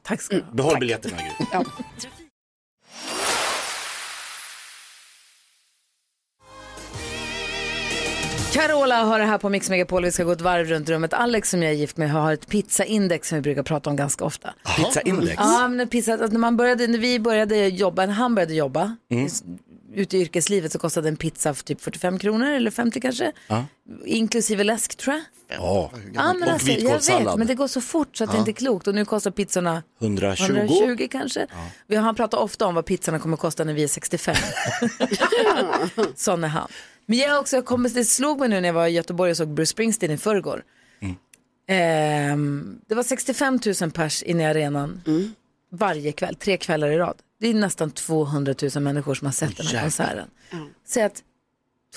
Tack ska du ha. Behåll biljetterna, Gry. Carola har det här på Mix Megapol. Vi ska gå ett varv runt rummet. Alex som jag är gift med har ett pizzaindex som vi brukar prata om ganska ofta. Pizzaindex? Ja, men en pizza, att när, man började, när vi började jobba, när han började jobba Mm. ute i yrkeslivet så kostade en pizza för typ 45 kronor eller 50 kanske. Ja. Inklusive läsk tror jag. Ja. Ja, men alltså, jag vet, men det går så fort så att det Ja. inte är klokt. Och nu kostar pizzorna 120. 120 kanske. Vi har pratat ofta om vad pizzorna kommer kosta när vi är 65. Sån är han. Men jag har också, jag kommer, det slog mig nu när jag var i Göteborg och såg Bruce Springsteen i förrgår. Ehm, det var 65 000 pers inne i arenan varje kväll, tre kvällar i rad. Det är nästan 200 000 människor som har sett den här jäklar. konserten. Säg att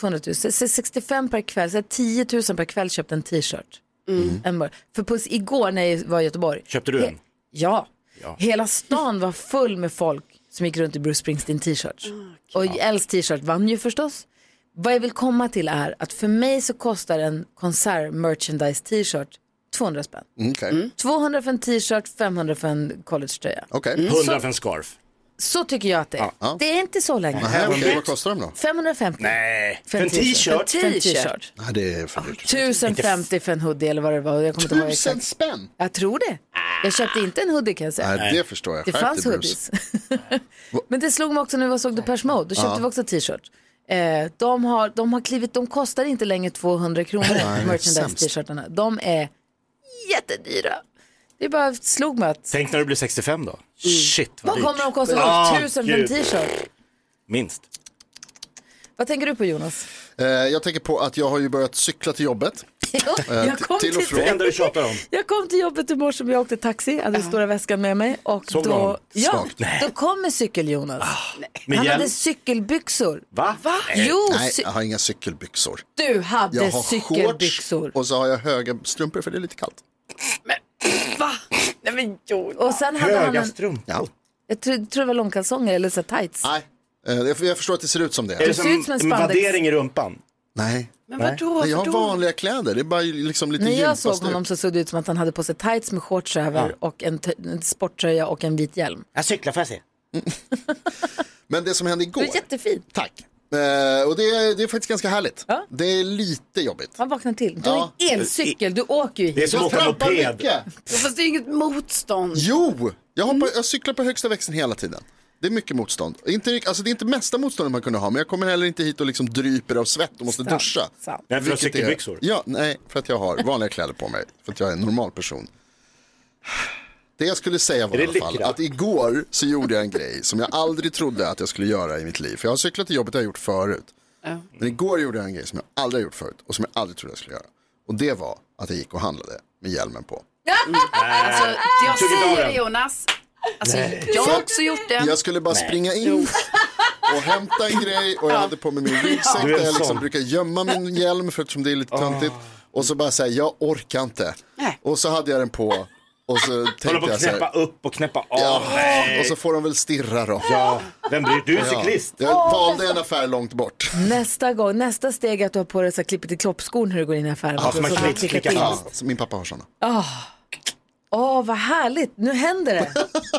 200 000, säg- säg 65 per kväll, säg att 10 000 per kväll köpte en t-shirt. Mm. En bara- För på, igår när jag var i Göteborg. Köpte du he- en? Ja. Ja. Hela stan var full med folk som gick runt i Bruce Springsteen-t-shirts. Och Els t-shirt vann ju förstås. Vad jag vill komma till är att för mig så kostar en konsert-merchandise-t-shirt 200 spänn. Mm, okej. 200 för en t-shirt, 500 för en collegetröja. Okej. 100 Så, för en scarf. så tycker jag att det är. Ja. Det är inte så länge. Nej, okej, vad kostar de då? 550. Nej, För en t-shirt. För en t-shirt. Nej, det är för dyrt. 1050 för en hoodie eller vad det var. Jag kommer inte ihåg Tusen exakt. spänn? Jag tror det. Jag köpte inte en hoodie kan jag säga. Nej, det förstår jag. Det Skärp fanns dig, Bruce. hoodies. Men det slog mig också när jag såg Depeche Mode. Då köpte Ja. vi också t-shirt. Eh, de, har, de har klivit, de kostar inte längre 200 Nej, det kronor, är sämst. merchandise-t-shirtarna. De är jättedyra. Det bara slog mig att, Tänk när du blir 65 då. Shit vad vad dyrt. kommer de kosta Ah, då? 1000 för en gud. t-shirt? Minst. Vad tänker du på Jonas? Eh, Jag tänker på att jag har ju börjat cykla till jobbet. Eh, jag, kom till och till, från. Det enda du tjatar om. jag kom till jobbet i morse och jag åkte taxi, jag hade stora väskan med mig. Och Såg du honom? då, ja, Svagt. Nej. då kommer cykel-Jonas. Ah, Med Han hade hjälp? cykelbyxor. Va? Eh, Jo, Nej, cy- jag har inga cykelbyxor. du hade Jag har cykelbyxor. shorts och så har jag höga strumpor för det är lite kallt. Nej men Jonas. Och sen hade han en, strumpor? Ja. jag tror, tror det var långkalsonger eller så här tights. Oh, Nej, eh, jag jag förstår att det ser ut som det. Är det som, som en en spandex. vaddering i rumpan? Nej. Men Nej. vadå? Nej, jag har vadå? vanliga kläder. Det är bara liksom lite När jag gympastut. såg honom så såg det ut som att han hade på sig tights med shorts över och en, t- en sporttröja och en vit hjälm. Jag cyklar får jag se. Men det som hände Du igår, är jättefin. tack. Eh, och det är, det är faktiskt ganska härligt. Det är lite jobbigt. Han vaknade till. Du har Ja. en elcykel, du åker ju Det är hit. som att åka trampar moped. mycket. Ja, Fast det är inget motstånd. Jo, jag, hoppar, jag cyklar på högsta växeln hela tiden. Det är mycket motstånd. Inte, rikt- alltså det är inte mesta motståndet man kunde ha, men jag kommer heller inte hit och liksom dryper av svett och måste duscha. sant. Nej, för du har Vilket är- cykelbyxor. Ja, nej, för att jag har vanliga kläder på mig. För att jag är en normal person. Det jag skulle säga var Är det i alla fall lyckra? att igår så gjorde jag en grej som jag aldrig trodde att jag skulle göra i mitt liv. För jag har cyklat till jobbet och jag har gjort förut. Men igår gjorde jag en grej som jag aldrig har gjort förut och som jag aldrig trodde jag skulle göra. Och det var att jag gick och handlade med hjälmen på. Alltså, jag tog inte av säger det den. Jonas. Alltså, jag har också gjort det. Jag skulle bara springa in och hämta en grej och jag hade på mig min ryggsäck Du är en där jag liksom sån. Ah. brukar gömma min hjälm för eftersom det är lite töntigt. Och så bara säga jag orkar inte. Nej. Och så hade jag den på och så Hålla tänkte på att jag så knäppa här. upp och knäppa av. Ja, Nej. och så får de väl stirra då. Ja, vem bryr Du är Ja. cyklist. Jag valde en affär långt bort. Nästa gång, nästa steg är att du har på dig så här klippet i kloppskor när du går in i affären. Ja, så man Så- så- klick- klickar klickar till. Ja, så min pappa har sådana. Åh, vad härligt. Nu händer det.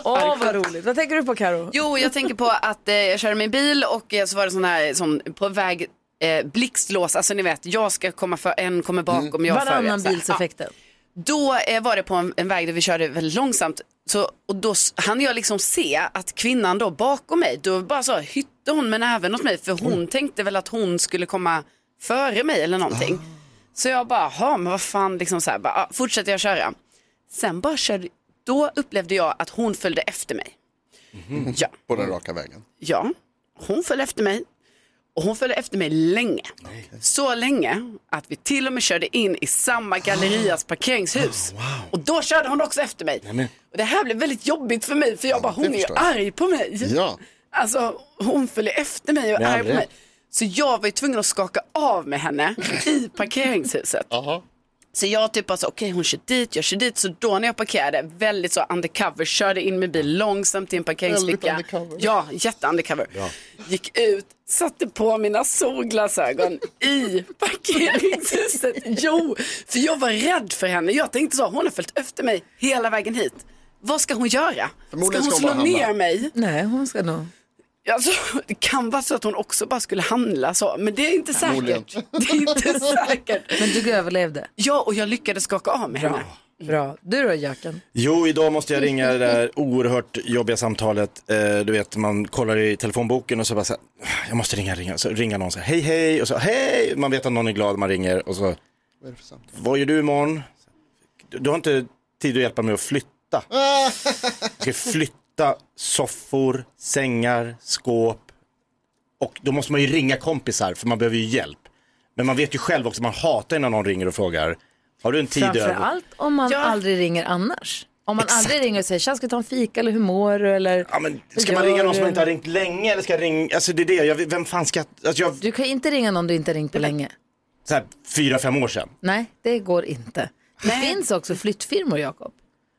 Åh, vad roligt. Vad tänker du på Karo? Jo, jag tänker på att eh, jag körde min bil och eh, så var det sån här sån, på väg eh, blixtlås, alltså ni vet, jag ska komma för, en kommer bakom, jag före. Varannan så här. Ja. bilseffekten. Då eh, var det på en, en väg där vi körde väldigt långsamt. Så, och då s- hann jag liksom se att kvinnan då bakom mig, då bara så hytte hon med näven åt mig för hon tänkte väl att hon skulle komma före mig eller någonting. Så jag bara, ha men vad fan, liksom så här, bara, ah, fortsätter jag köra. Sen bara körde, då upplevde jag att hon följde efter mig. Ja. På den raka vägen. Ja, hon följde efter mig. Och hon följde efter mig länge. Så länge att vi till och med körde in i samma gallerias Oh, parkeringshus. Och då körde hon också efter mig. Och det här blev väldigt jobbigt för mig för jag bara, hon är ju förstår jag. arg på mig. Ja. Alltså hon följer efter mig och är Med arg på all mig. rätt. Så jag var ju tvungen att skaka av med henne i parkeringshuset. Så jag typ bara så, okej hon kör dit, jag kör dit. Så då när jag parkerade, väldigt så undercover, körde in min bil långsamt i en parkeringsficka. Väldigt undercover. Ja, jätteundercover. Gick ut, satte på mina solglasögon i parkeringshuset. Jo, för jag var rädd för henne. Jag tänkte så, hon har följt efter mig hela vägen hit. Vad ska hon göra? Ska Förmodligen hon ska slå hon bara ner hamna. mig? Nej, hon ska nog... Alltså, det kan vara så att hon också bara skulle handla så, men det är inte Förmodligen. säkert. Det är inte säkert. Men du överlevde? Ja, och jag lyckades skaka av med henne. Bra. Du då, Jöken? Jo, idag måste jag ringa det där oerhört jobbiga samtalet. Eh, du vet, man kollar i telefonboken och så bara så här, jag måste ringa, ringa. Så ringer någon så här, hej, hej, och så hej, man vet att någon är glad, man ringer och så, Vad är det för samtal? vad gör du imorgon? Du, du har inte tid att hjälpa mig att flytta. Jag ska flytta soffor, sängar, skåp. Och då måste man ju ringa kompisar, för man behöver ju hjälp. Men man vet ju själv också, man hatar ju när någon ringer och frågar, har du en tid över? Framförallt om man aldrig ringer annars. Om man aldrig ringer och säger tja, ska vi ta en fika eller hur mår du? Eller, ja, men, Ska man ringa någon som inte har ringt länge eller ska jag ringa, alltså det är det, jag, vet- vem fan ska, alltså jag, Du kan inte ringa någon du inte har ringt på länge. så här fyra, fem år sedan. Nej, det går inte. Det finns också flyttfirmor, Jakob.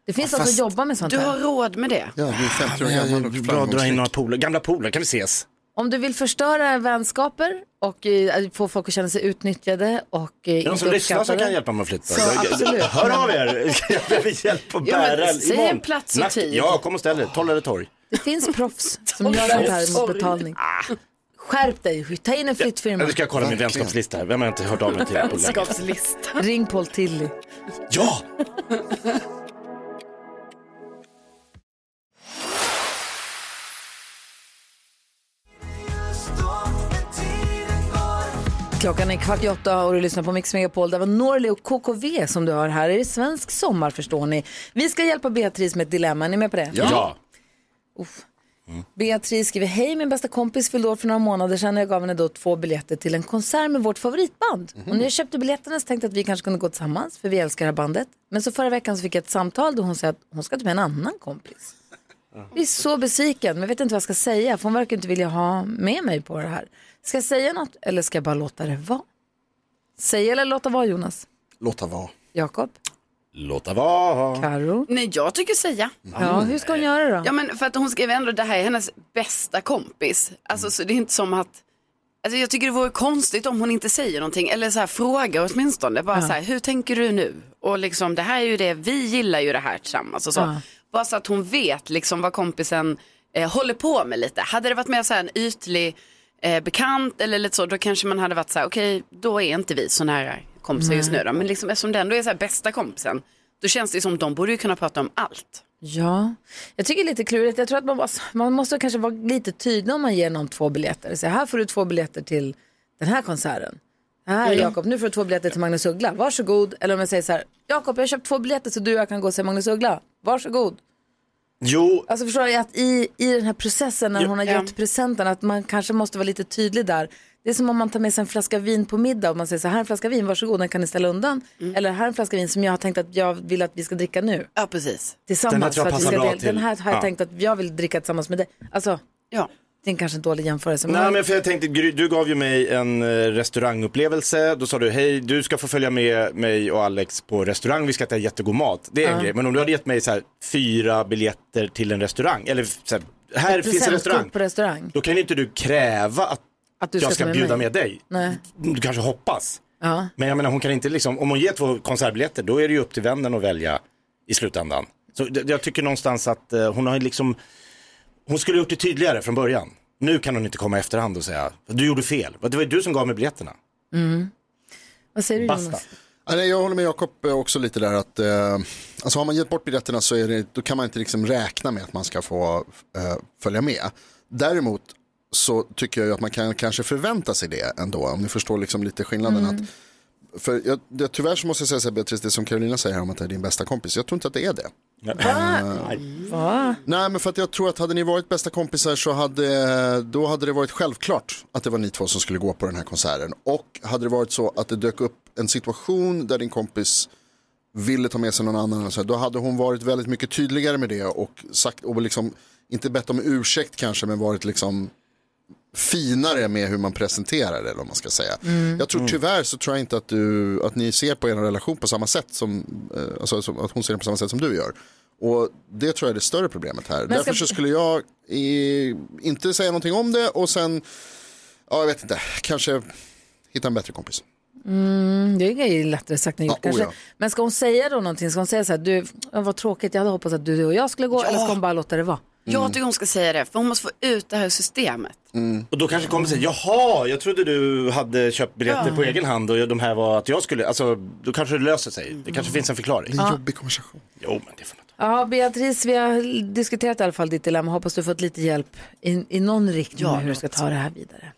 Det finns Ja, alltså fast att jobba med sånt du här. har råd med det. Ja, du är 50 år Ah, men gammal det är och bra att dra in framgångsrik. några polare, gamla polare, kan vi ses? Om du vill förstöra vänskaper och eh, få folk att känna sig utnyttjade och eh, Är det någon som lyssnar som kan hjälpa mig att flytta? Så, Jag- jag- absolut. Hör av er, jag behöver hjälp att Jo, men bära. säg Imorgon. en plats och Natt- tid. Ja, kom och ställ dig, Toll eller torg. Det finns proffs som gör det här mot Sorry. Ah. betalning. Skärp dig, ta in en flyttfirma. Nu ska jag kolla min vänskapslista här, vem har jag inte hört av mig till? på länge? Vänskapslista. Ring Paul Tilly. Ja! Klockan är kvart i åtta och du lyssnar på Mix Megapol. Det var Norli och KKV som du har här. Är det svensk sommar förstår ni? Vi ska hjälpa Beatrice med ett dilemma. Är ni med på det? Ja. Beatrice skriver, hej min bästa kompis fyllde år för några månader sedan och jag gav henne då två biljetter till en konsert med vårt favoritband. Och när jag köpte biljetterna så tänkte jag att vi kanske kunde gå tillsammans för vi älskar det här bandet. Men så förra veckan så fick jag ett samtal då hon sa att hon ska ta med en annan kompis. Vi är så besviken men jag vet inte vad jag ska säga för hon verkar inte vilja ha med mig på det här. Ska jag säga något eller ska jag bara låta det vara? Säga eller låta vara Jonas? Låta vara. Jakob? Låta vara. Karo? Nej, jag tycker säga. Ja, hur ska hon göra då? Ja, men för att hon skrev ändå det här är hennes bästa kompis. Alltså, så det är inte som att... Alltså, jag tycker det vore konstigt om hon inte säger någonting eller så här, frågar åtminstone. Bara Ja. så här, hur tänker du nu? Och liksom, det här är ju det, vi gillar ju det här tillsammans och så. Ja. Bara så att hon vet liksom vad kompisen eh, håller på med lite. Hade det varit mer så här en ytlig eh, bekant eller lite så, då kanske man hade varit så här, okej, då är inte vi så nära kompisar just nu Nej. då. Men liksom, eftersom det ändå är så här bästa kompisen, då känns det som de borde ju kunna prata om allt. Ja, jag tycker det är lite klurigt. Jag tror att man, bara, man måste kanske vara lite tydlig om man ger någon två biljetter. Så här får du två biljetter till den här konserten. Här Mm. Jakob, nu får du två biljetter till Magnus Uggla. Varsågod. Eller om jag säger så här, Jakob jag har köpt två biljetter så du och jag kan gå och se Magnus Uggla. Varsågod. Jo, Alltså förstår du att i, i den här processen när hon har gett presenten att man kanske måste vara lite tydlig där. Det är som om man tar med sig en flaska vin på middag och man säger så här, här är en flaska vin, varsågod den kan ni ställa undan. Eller här är en flaska vin som jag har tänkt att jag vill att vi ska dricka nu. Ja, precis. Tillsammans. Den här tror jag för att vi passar ska bra del- Den här till- har jag Ja. tänkt att jag vill dricka tillsammans med dig. Alltså, ja. det är kanske en dålig jämförelse. men- Nej, men för jag tänkte, Gry, du gav ju mig en eh, restaurangupplevelse. Då sa du, hej, du ska få följa med mig och Alex på restaurang. Vi ska äta jättegod mat. Det är en Ja. grej. Men om du hade gett mig så här, fyra biljetter till en restaurang, eller så här, här Ett finns en presentkort restaurang. på restaurang. Då kan ju inte du kräva att, Att du ska jag ta ska med bjuda mig. med dig. Nej. Du kanske hoppas. Ja. Men jag menar, hon kan inte liksom, om hon ger två konsertbiljetter, då är det ju upp till vännen att välja i slutändan. Så d- jag tycker någonstans att eh, hon har ju liksom, hon skulle ha gjort det tydligare från början. Nu kan hon inte komma i efterhand och säga, du gjorde fel, det var ju du som gav mig biljetterna. Mm. Vad säger du Basta. Jonas? Ja, nej, jag håller med Jakob eh, också lite där att eh, alltså har man gett bort biljetterna så är det, då kan man inte liksom räkna med att man ska få eh, följa med. Däremot så tycker jag ju att man kan kanske förvänta sig det ändå, om ni förstår liksom lite skillnaden. Att för jag, det, tyvärr så måste jag säga så här, Beatrice, det som Carolina säger här om att det är din bästa kompis, jag tror inte att det är det. Va? Nej, men för att jag tror att hade ni varit bästa kompisar så hade, då hade det varit självklart att det var ni två som skulle gå på den här konserten. Och hade det varit så att det dök upp en situation där din kompis ville ta med sig någon annan, och så här, då hade hon varit väldigt mycket tydligare med det och sagt, och liksom, inte bett om ursäkt kanske, men varit liksom finare med hur man presenterar det, eller vad man ska säga. Mm. Jag tror Mm. tyvärr så tror jag inte att, du, att ni ser på er relation på samma sätt som, eh, alltså, som, att hon ser den på samma sätt som du gör. Och det tror jag är det större problemet här. ska- Därför så skulle jag eh, inte säga någonting om det och sen, ja jag vet inte, kanske hitta en bättre kompis. Mm, det är ju lättare sagt än gjort Ja, oh kanske. ja. Men ska hon säga då någonting? Ska hon säga så här, du, ja, vad tråkigt, jag hade hoppats att du och jag skulle gå, eller ska hon bara låta det vara? Mm. Jag tycker hon ska säga det, för hon måste få ut det här ur systemet. Och då kanske kommer säga, jaha, jag trodde du hade köpt biljetter Ja. på egen hand och de här var att jag skulle, alltså då kanske det löser sig. Det kanske finns en förklaring. Det är en jobbig konversation. Jo, men det får Ja, Beatrice, vi har diskuterat i alla fall ditt dilemma. Hoppas du fått lite hjälp i, i någon riktning Ja, med hur du ska ta det här vidare.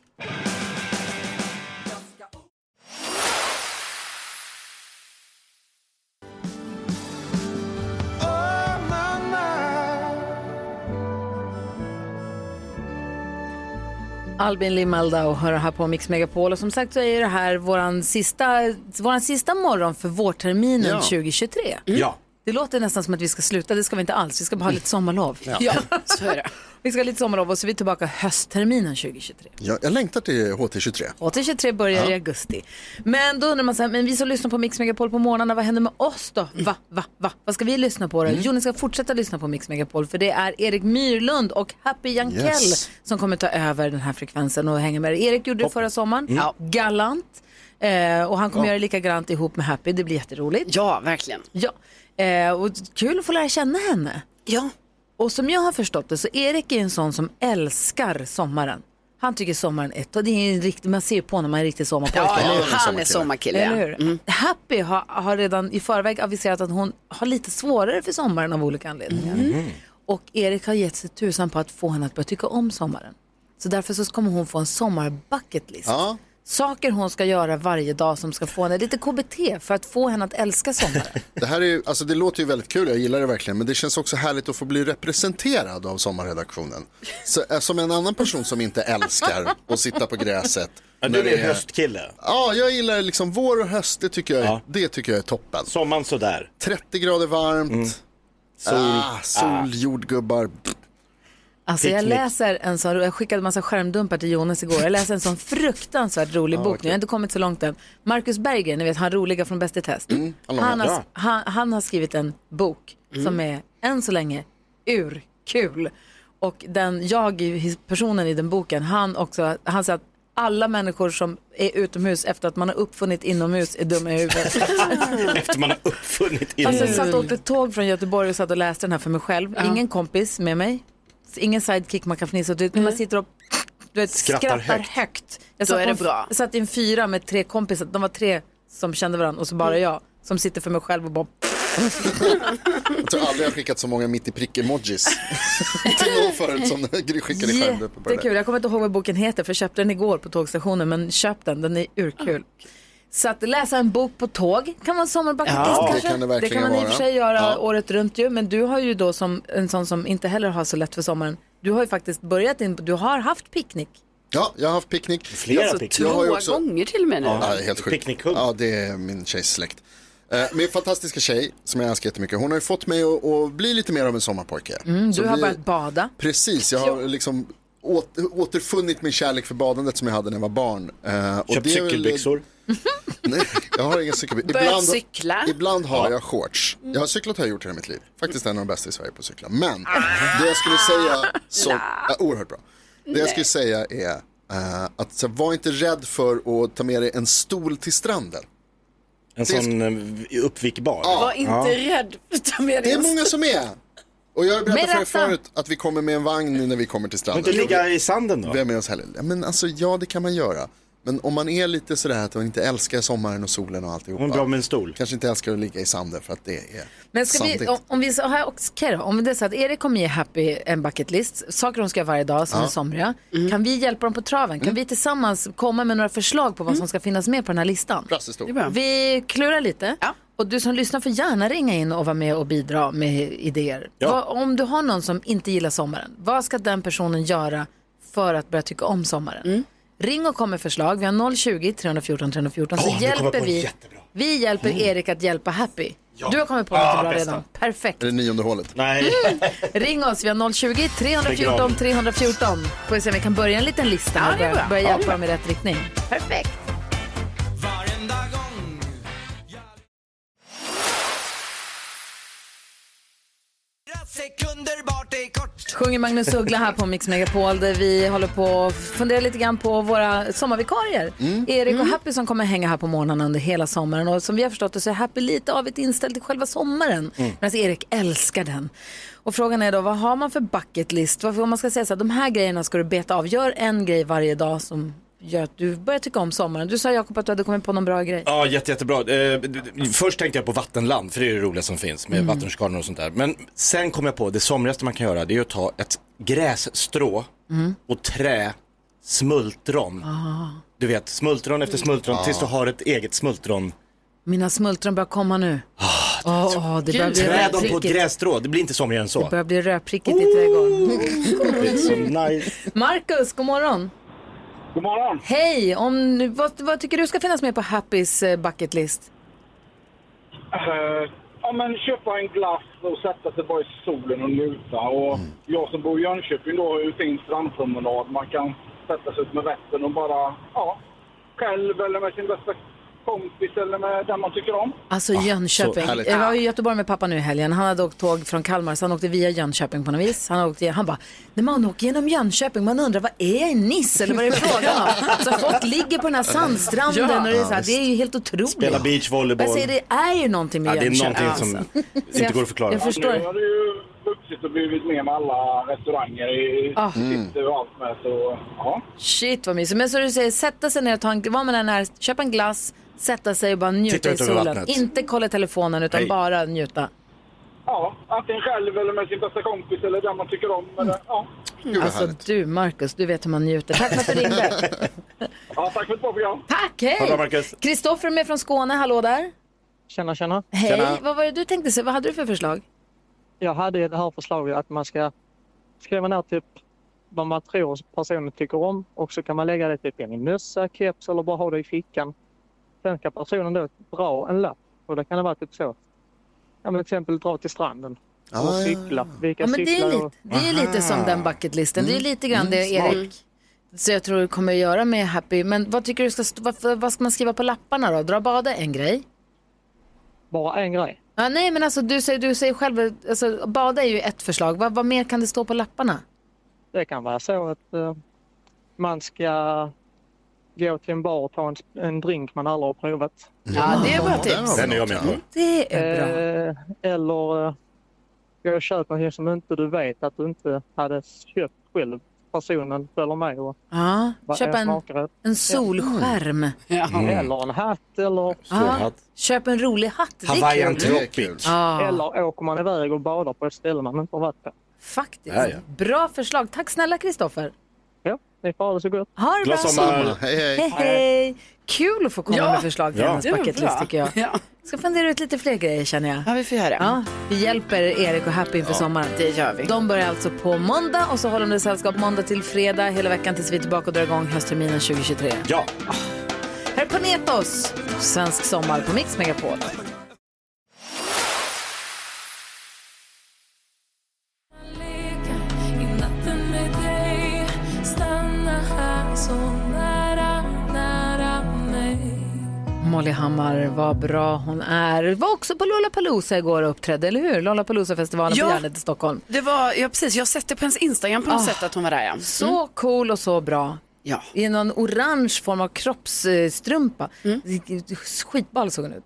Albin Limaldau hör här på Mix Megapol och som sagt så är det här våran sista, våran sista morgon för vårterminen Ja. 2023. Ja. Det låter nästan som att vi ska sluta, det ska vi inte alls, vi ska bara ha lite sommarlov. Ja. så är det. Vi ska ha lite sommarlov och så är vi tillbaka höstterminen 2023. Jag, jag längtar till HT23. 8-23 börjar i Ja. augusti. Men då undrar man så här, men vi som lyssnar på Mix Megapol på morgnarna, vad händer med oss då? Va, va, va? Vad ska vi lyssna på då? Mm. Jo, ni ska fortsätta lyssna på Mix Megapol för det är Erik Myrlund och Happy Jankell Yes. som kommer ta över den här frekvensen och hänga med er. Erik gjorde det förra sommaren, Mm. Ja. galant. Eh, och han kommer Ja. göra det lika galant ihop med Happy, det blir jätteroligt. Ja, verkligen. Ja. Eh, och kul att få lära känna henne. Ja. Och som jag har förstått det så Erik är ju en sån som älskar sommaren. Han tycker sommaren är ett, och det är en riktig, man ser ju på när man är en riktig sommarpojke. Ja, ja, eller hur? han är Mm. sommarkille, ja. Eller hur? Happy har, har redan i förväg aviserat att hon har lite svårare för sommaren av olika anledningar. Mm. Och Erik har gett sig tusan på att få henne att börja tycka om sommaren. Så därför så kommer hon få en sommarbucketlist. Saker hon ska göra varje dag som ska få henne, lite KBT för att få henne att älska sommaren. Det här är ju, alltså det låter ju väldigt kul, jag gillar det verkligen, men det känns också härligt att få bli representerad av sommarredaktionen. Så, eh, som en annan person som inte älskar att sitta på gräset. Ja, du när är en höstkille. Ja, jag gillar liksom vår och höst, det tycker jag, är- det tycker jag är toppen. Sommaren sådär. 30 grader varmt, Mm. Sol. ah, sol Ah. jordgubbar. Alltså jag Picknick. läser en sån, jag skickade massa skärmdumpar till Jonas igår, jag läser en sån fruktansvärt rolig Ja, bok nu, jag har inte kommit så långt än. Marcus Berggren, ni vet han roliga från Bäst i test. Mm, han han, långa. har, han, han har skrivit en bok Mm. som är, än så länge, urkul. Och den, jag, i- personen i den boken, han också, han säger att alla människor som är utomhus efter att man har uppfunnit inomhus är dumma i huvudet. Efter man har uppfunnit Alltså jag innan. satt och åkte tåg från Göteborg och satt och läste den här för mig själv. Ja. Ingen kompis med mig. Ingen sidekick man kan fnissa åt. utan Man sitter och du vet, skrattar, Mm. Skrattar högt. högt. Jag Då satt är på det en- bra. Jag satt i en fyra med tre kompisar. De var tre som kände varandra och så Mm. bara jag som sitter för mig själv och bara... Jag tror aldrig jag har skickat så många mitt i prick-emojis till någon förut som Gry skickade skärmdumpar på det där. Jättekul. Jag kommer inte ihåg vad boken heter för jag köpte den igår på tågstationen. Men köp den, den är urkul. Ah. Så att läsa en bok på tåg kan vara en sommarbucketlist Ja, det kanske. kan det det verkligen kan man i och för vara. sig göra Ja. året runt ju. Men du har ju då som en sån som inte heller har så lätt för sommaren. Du har ju faktiskt börjat in, du har haft picknick. Ja, jag har haft picknick. Flera alltså, picknick. jag har ju Två också- gånger till och med nu. Ja, det är helt sjukt. Ja, det är min tjejs släkt. Eh, Min fantastiska tjej, som jag älskar jättemycket, hon har ju fått mig att, att bli lite mer av en sommarpojke. Mm, Så du har vi- börjat bada. Precis, jag har liksom åter, återfunnit min kärlek för badandet som jag hade när jag var barn. Eh, och Köpt det är väl- cykelbyxor. Nej, jag har inga cykelbyxor. Börjat cykla. ibland har jag shorts. Jag har cyklat har jag gjort hela mitt liv. Faktiskt en av de bästa i Sverige på att cykla. Men Ah. det jag skulle säga, som, ja, oerhört bra. Det jag skulle säga är eh, att så, var inte rädd för att ta med dig en stol till stranden. En sån eh, uppvikbar. Var inte rädd för att ta med Det är dig- många som är. Och jag har berättat Med för er rätta. förut att vi kommer med en vagn när vi kommer till stranden. Men inte ligga i sanden då? Vi är med oss heller. Ja, Men alltså ja, det kan man göra. Men om man är lite sådär att man inte älskar sommaren och solen och alltihopa. Hon är bra med en stol. Kanske inte älskar att ligga i sanden för att det är Men ska vi, sandigt. om, om vi så här också, Karo, om det är så att Erik kommer ge Happy en bucketlist, saker hon ska göra varje dag som Ja. Mm. är somriga. Kan vi hjälpa dem på traven? Kan vi Mm. tillsammans komma med några förslag på vad som ska finnas med på den här listan? Brasse stod. Vi klurar lite Och du som lyssnar får gärna ringa in och vara med och bidra med idéer. Ja. Vad, om du har någon som inte gillar sommaren, vad ska den personen göra för att börja tycka om sommaren? Mm. Ring och kom med förslag. Vi har 020-314 314. Så Åh, nu kommer jag hjälper på vi. jättebra. Mm. Vi hjälper Erik att hjälpa Happy. Ja. Du har kommit på något Ah, bra bästa. redan. Perfekt. Är det nionde hålet? Nej. Mm. Ring oss, vi har 020 314 314. Får vi se om vi kan börja en liten lista Ja, här och det är börja, bra. börja Ja, hjälpa det är dem i rätt riktning. Perfekt. Sekunder bort är kort. Sjunger Magnus Uggla här på Mix Megapol där vi håller på och funderar lite grann på våra sommarvikarier. Erik och Happy som kommer hänga här på morgnarna under hela sommaren och som vi har förstått det så är Happy lite avigt inställd till själva sommaren Mm. medan Erik älskar den. Och frågan är då vad har man för bucket list? Varför om man ska säga så här, de här grejerna ska du beta av. Gör en grej varje dag som gör att du börjar tycka om sommaren. Du sa Jakob att du hade kommit på någon bra grej. Ja, jätte, jättebra. Eh, d- d- först tänkte jag på vattenland, för det är det roliga som finns med Mm. vattenrutschkanor och sånt där. Men sen kom jag på det somrigaste man kan göra, det är att ta ett grässtrå Mm. Ah. och trä smultron. Du vet, smultron efter smultron Ah. Ja. tills du har ett eget smultron. Mina smultron börjar komma nu. Åh, åh, det börjar bli Trä dem på ett rödprickigt. grässtrå, det blir inte somrigare än Det så. börjar bli rödprickigt i trädgården. Det är så nice. Marcus, god morgon. God morgon. Hej, om, nu- vad, vad tycker du ska finnas med på Happys eh, bucket list? Eh, ja, men köpa en glass och sätta sig bara i solen och njuta. Och Jag som bor i Jönköping då har ju fin strandpromenad. Man kan sätta sig ut med Vättern och bara, ja, själv eller med sin bästa kompis eller med den man tycker om. Ah, Alltså Jönköping. härligt. Jag var i Göteborg med pappa nu i helgen. Han hade åkt tåg från Kalmar så han åkte via Jönköping på något vis. Han, åkte, han bara, när man åker genom Jönköping man undrar vad är Niss eller vad är det frågan om? Så folk ligger på den här sandstranden Ja. och det är, så Ja, här, visst. det är ju helt otroligt. Spela beachvolleyboll. Jag säger, det är ju någonting med Ja, det är Jönköping. någonting som Så inte jag- går att förklara. jag förstår. Nu har det ju vuxit och blivit med med alla restauranger i Ah. city och allt med. Så, ja. Shit vad mysigt. Men så du säger, sätta sig ner och ta en, vad man än är, köpa en glass, sätta sig och bara Titta njuta i ut över solen. vattnet. Inte kolla telefonen utan Nej. bara njuta. ja, antingen själv eller med sin bästa kompis eller den man tycker om. Eller, ja. Alltså du Marcus, du vet hur man njuter. Tack för att du ringde. ja, tack för ett bra program. Tack, hej! Ha det bra, Marcus. Kristoffer är med från Skåne, hallå där. Tjena, tjena. Hej, vad var det du tänkte säga? Vad hade du för förslag? Jag hade det här förslaget att man ska skriva ner typ vad man tror personen tycker om och så kan man lägga det typ i en mössa, keps eller bara ha det i fickan. Sen ska personen då dra en lapp och det kan det vara typ så. Ja, men till exempel dra till stranden. Ah, och ja, cykla. Vilka Ja, men det är, cyklar lite, och... det är lite som den bucketlisten. Det är Mm. lite grann Mm, det smart. Erik så jag tror du kommer att göra med Happy. Men vad tycker du ska, st- vad, vad ska man skriva på lapparna då? Dra bada en grej? Bara en grej. Ja, nej, men alltså du säger, du säger själv, alltså, bada är ju ett förslag. Vad, vad mer kan det stå på lapparna? Det kan vara så att eh, man ska gå till en bar och ta en, en drink man aldrig har provat. Ja, det är bra tips. den har vi Den är jag med på. Det Eh, eller eh, gå och köpa någonting som inte du vet att du inte hade köpt själv. Personen följer med och Ja, vad köp är en, smakare. en solskärm. Ja. Mm. Eller en hatt eller... Ja, köp en rolig hatt. Det är kul. Ja, Eller åker man iväg och badar på ett ställe man inte har varit på. faktiskt. Ja, ja. Bra förslag. Tack snälla Kristoffer. Ja, ni får ha det så gott. Ha det bra. Glad sommar. Hej, Hej, hej. hej. Kul att få komma Ja. med förslag till Ja. hennes Det var bucket bra. list tycker jag. Ska fundera ut lite fler grejer känner jag. Ja, vi får göra det. Ja, vi hjälper Erik och Happy inför Ja, sommaren. det gör vi. De börjar alltså på måndag och så håller de sällskap måndag till fredag hela veckan tills vi är tillbaka och drar igång höstterminen 2023. Ja. Här är Panetos, svensk sommar på Mix Megapol. I natten med dig Stanna här så nära, nära mig Molly Hammar, vad bra hon är. Var också på Lollapalooza igår och uppträdde, eller hur? Lollapalooza-festivalen Ja. på Gärdet i Stockholm. Det var, ja precis, jag har sett det på hennes Instagram på något Ah, sätt att hon var där ja. Så cool och så bra. Ja. I någon orange form av kroppsstrumpa. Mm. Skitball såg hon ut.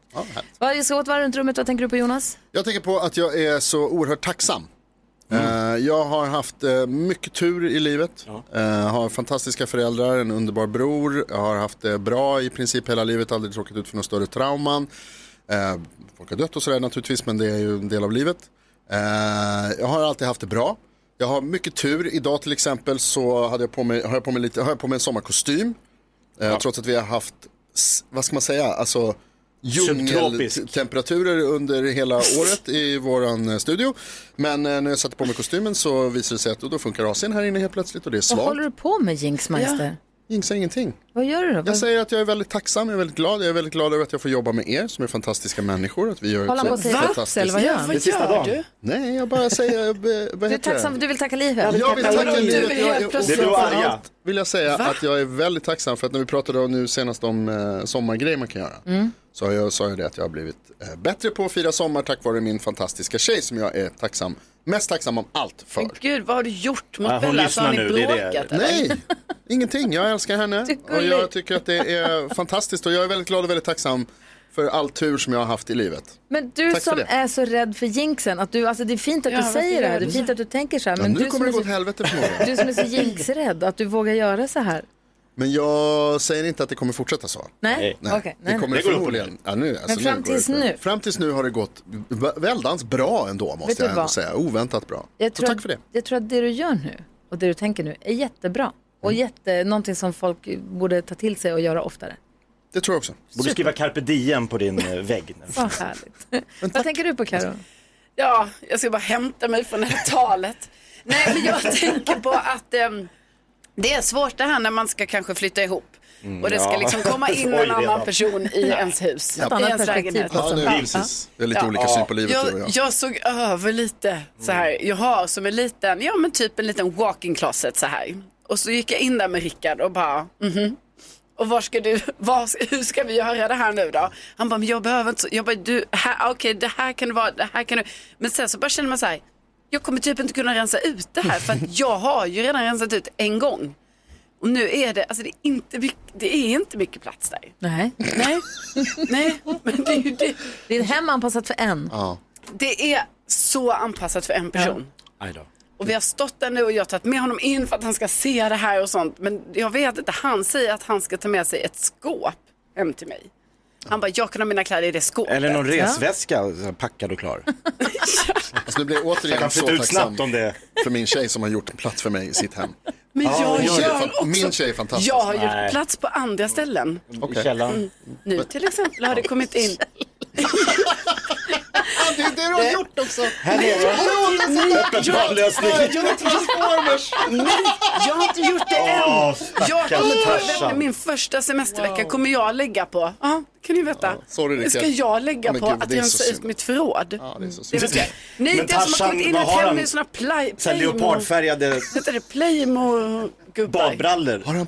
Vad- Vi ska gå ett varv runt rummet. Vad tänker du på Jonas? Jag tänker på att jag är så oerhört tacksam. Eh, Jag har haft eh, mycket tur i livet. Eh, Har fantastiska föräldrar, en underbar bror. Jag har haft det bra i princip hela livet, aldrig tråkat ut för några större trauman. Eh, Folk har dött och sådär naturligtvis, men det är ju en del av livet. Eh, Jag har alltid haft det bra. Jag har mycket tur. Idag till exempel så hade jag på mig, har, jag på mig lite, har jag på mig en sommarkostym. Eh, Trots att vi har haft, s- vad ska man säga, alltså Subtropisk. djungeltemperaturer under hela året i våran eh, studio. Men eh, när jag satte på mig kostymen så visade det sig att då funkar AC'n här inne helt plötsligt och det är Vad svalt. håller du på med Jinx Meister? Jinxar ingenting. Vad gör du då? Jag säger att jag är väldigt tacksam, jag är väldigt glad. Jag är väldigt glad över att jag får jobba med er som är fantastiska människor. Att vi gör Håller ett han på att så säga fantastiskt- vaps, eller vad gör han? Det är sista Vad gör dagen. du? Nej, jag bara säger, jag, eh, vad Du är heter det? tacksam, för- du vill tacka livet? Jag vill tacka livet. Jag- jag- framför allt vill jag säga Va? att jag är väldigt tacksam för att när vi pratade om nu senast om eh, sommargrejer man kan göra. Mm. Så har jag sa jag det att jag har blivit eh, bättre på att fira sommar tack vare min fantastiska tjej som jag är tacksam, mest tacksam om allt för. Gud, vad har du gjort mot Ja, hon Bella? Alltså, lyssnar har ni nu, det är det. bråkat, eller? Nej, ingenting. Jag älskar henne och jag tycker att det är fantastiskt och jag är väldigt glad och väldigt tacksam för all tur som jag har haft i livet. Men du Tack för som det. är så rädd för jinxen, att du, alltså det är fint att Ja, du varför säger det här, gör det du är så? fint att du tänker så här. Men Men nu du, kommer som det är gå så, åt helvete förmodligen. du som är så jinxrädd, att du vågar göra så här. Men jag säger inte att det kommer fortsätta så. Nej, okej, nej, det kommer nej. det Det går förmodligen. Ja, nu, alltså, Men fram går det tills för- nu? Fram tills nu har det gått v- väldans bra ändå måste Vet du jag ändå vad? säga. Oväntat bra. Jag tror, tack för det. Att, jag tror att det du gör nu och det du tänker nu är jättebra. Och Mm. jätte, någonting som folk borde ta till sig och göra oftare. Det tror jag också. Borde skriva carpe diem på din eh, vägg. nu. Vad härligt. Vad tänker du på Karo? Ja, jag ska bara hämta mig från det här talet. Nej, men jag tänker på att ehm, det är svårt det här när man ska kanske flytta ihop. och det ska Mm, ja. liksom komma in Oj, en redan. annan person i ens hus, Ja. i Ett ens annat lägenhet. perspektiv på Ja, det är saken. precis. Vi har lite olika syn på livet, jag, du och jag. Mm. såg över lite så här. Jag har som en liten, ja men typ en liten walk-in closet så här. Och så gick jag in där med Rickard och bara, mhm. Och var ska du, var, hur ska vi göra det här nu då? Han bara, men jag behöver inte så. Jag bara, du, här, ah, okej det här kan det vara, det här kan du. Men sen så bara känner man så här, jag kommer typ inte kunna rensa ut det här för att jag har ju redan rensat ut en gång. Och nu är det, alltså det är inte mycket, det är inte mycket plats där. Nej. Nej, nej, men det är ju det. Det är ett hem anpassat för en. Ja. Det är så anpassat för en person. Aj då. Och vi har stått där nu och jag har tagit med honom in för att han ska se det här och sånt. Men jag vet inte, han säger att han ska ta med sig ett skåp hem till mig. Han bara, jag kan ha mina kläder i det skåpet. Eller någon Ja. resväska så här, packad och klar. Alltså, nu blir jag Jag återigen kan så flytta ut tacksam snabbt om det. för min tjej som har gjort en plats för mig i sitt hem. Men jag hon gör det. också- Min tjej är fantastisk. Jag har gjort plats på andra ställen. Okej. Mm. Nu till exempel har det kommit in. det är det du har gjort också. Här är det. Öppet barnlösning. Transformers. Nej, jag har inte gjort det än. Åh, jag stackars kommer ta, Tarzan. vem- min första semestervecka kommer jag lägga på. Ja, kan ni veta. sorry, Rickard. ska jag lägga Ja, men på gud, att det är rensa så ut synd. mitt förråd? Ja, det är så Det synd. vill säga, nej, Men det som har Tarzan, kommit in i vad ett har hem han? med såna play, Så här Playmo- leopardfärgade Heter det Playmo-gubbar? badbrallor. Har han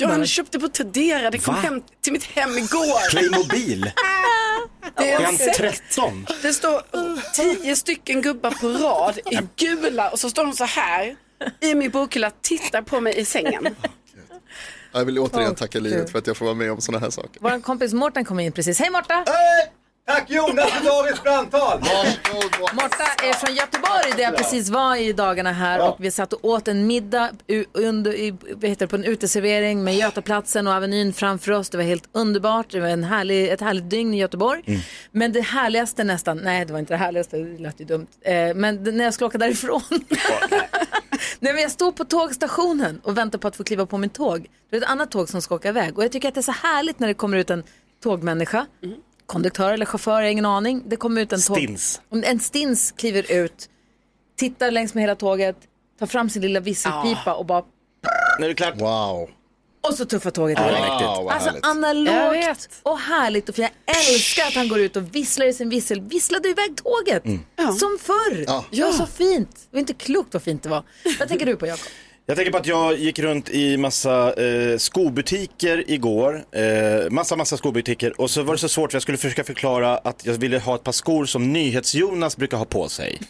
Ja, han köpte på Tradera. Det kom Va? hem till mitt hem igår. Playmobil? Det Är är han en sekt. 13? Det står tio stycken gubbar på rad i gula och så står de så här i min bokhylla, tittar på mig i sängen. Jag vill återigen Åh, tacka Gud. livet för att jag får vara med om sådana här saker. Vår kompis Mårten kom in precis. Hej Mårta! Tack Jonas för dagens brandtal! Mårta är från Göteborg där jag precis var i dagarna här och vi satt och åt en middag u- under, i, vad heter det, på en uteservering med Götaplatsen och Avenyn framför oss. Det var helt underbart. Det var en härlig, ett härligt dygn i Göteborg. Men det härligaste nästan, nej det var inte det härligaste, det lät ju dumt. Eh, men det- när jag skulle åka därifrån. nej men jag stod på tågstationen och väntade på att få kliva på min tåg. Det är ett annat tåg som ska åka iväg och jag tycker att det är så härligt när det kommer ut en tågmänniska. Konduktör eller chaufför, jag har ingen aning. Det kommer ut en tåg. Stins. Om En stins kliver ut, tittar längs med hela tåget, tar fram sin lilla visselpipa och bara Nu är det klart. Wow. och så tuffar tåget Ja, iväg. vad mäktigt. vad Alltså härligt. Jag analogt och härligt. Och för jag älskar att han går ut och visslar i sin vissel. Visslade iväg tåget. Som förr. Mm. Ja. Det var så fint. Det var inte klokt vad fint det var. Vad tänker du på Jakob? Jag tänker på att jag gick runt i massa eh, skobutiker igår. Eh, massa, massa skobutiker. Och så var det så svårt för jag skulle försöka förklara att jag ville ha ett par skor som NyhetsJonas brukar ha på sig.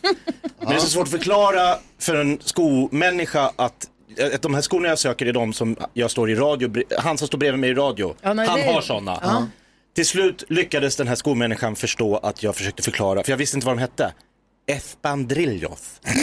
Men det är så svårt att förklara för en skomänniska att eh, att de här skorna jag söker är de som jag står i radio, han som står bredvid mig i radio, Ja, nej, han det- har sådana. Ja. Till slut lyckades den här skomänniskan förstå att jag försökte förklara, för jag visste inte vad de hette. Espandrillos.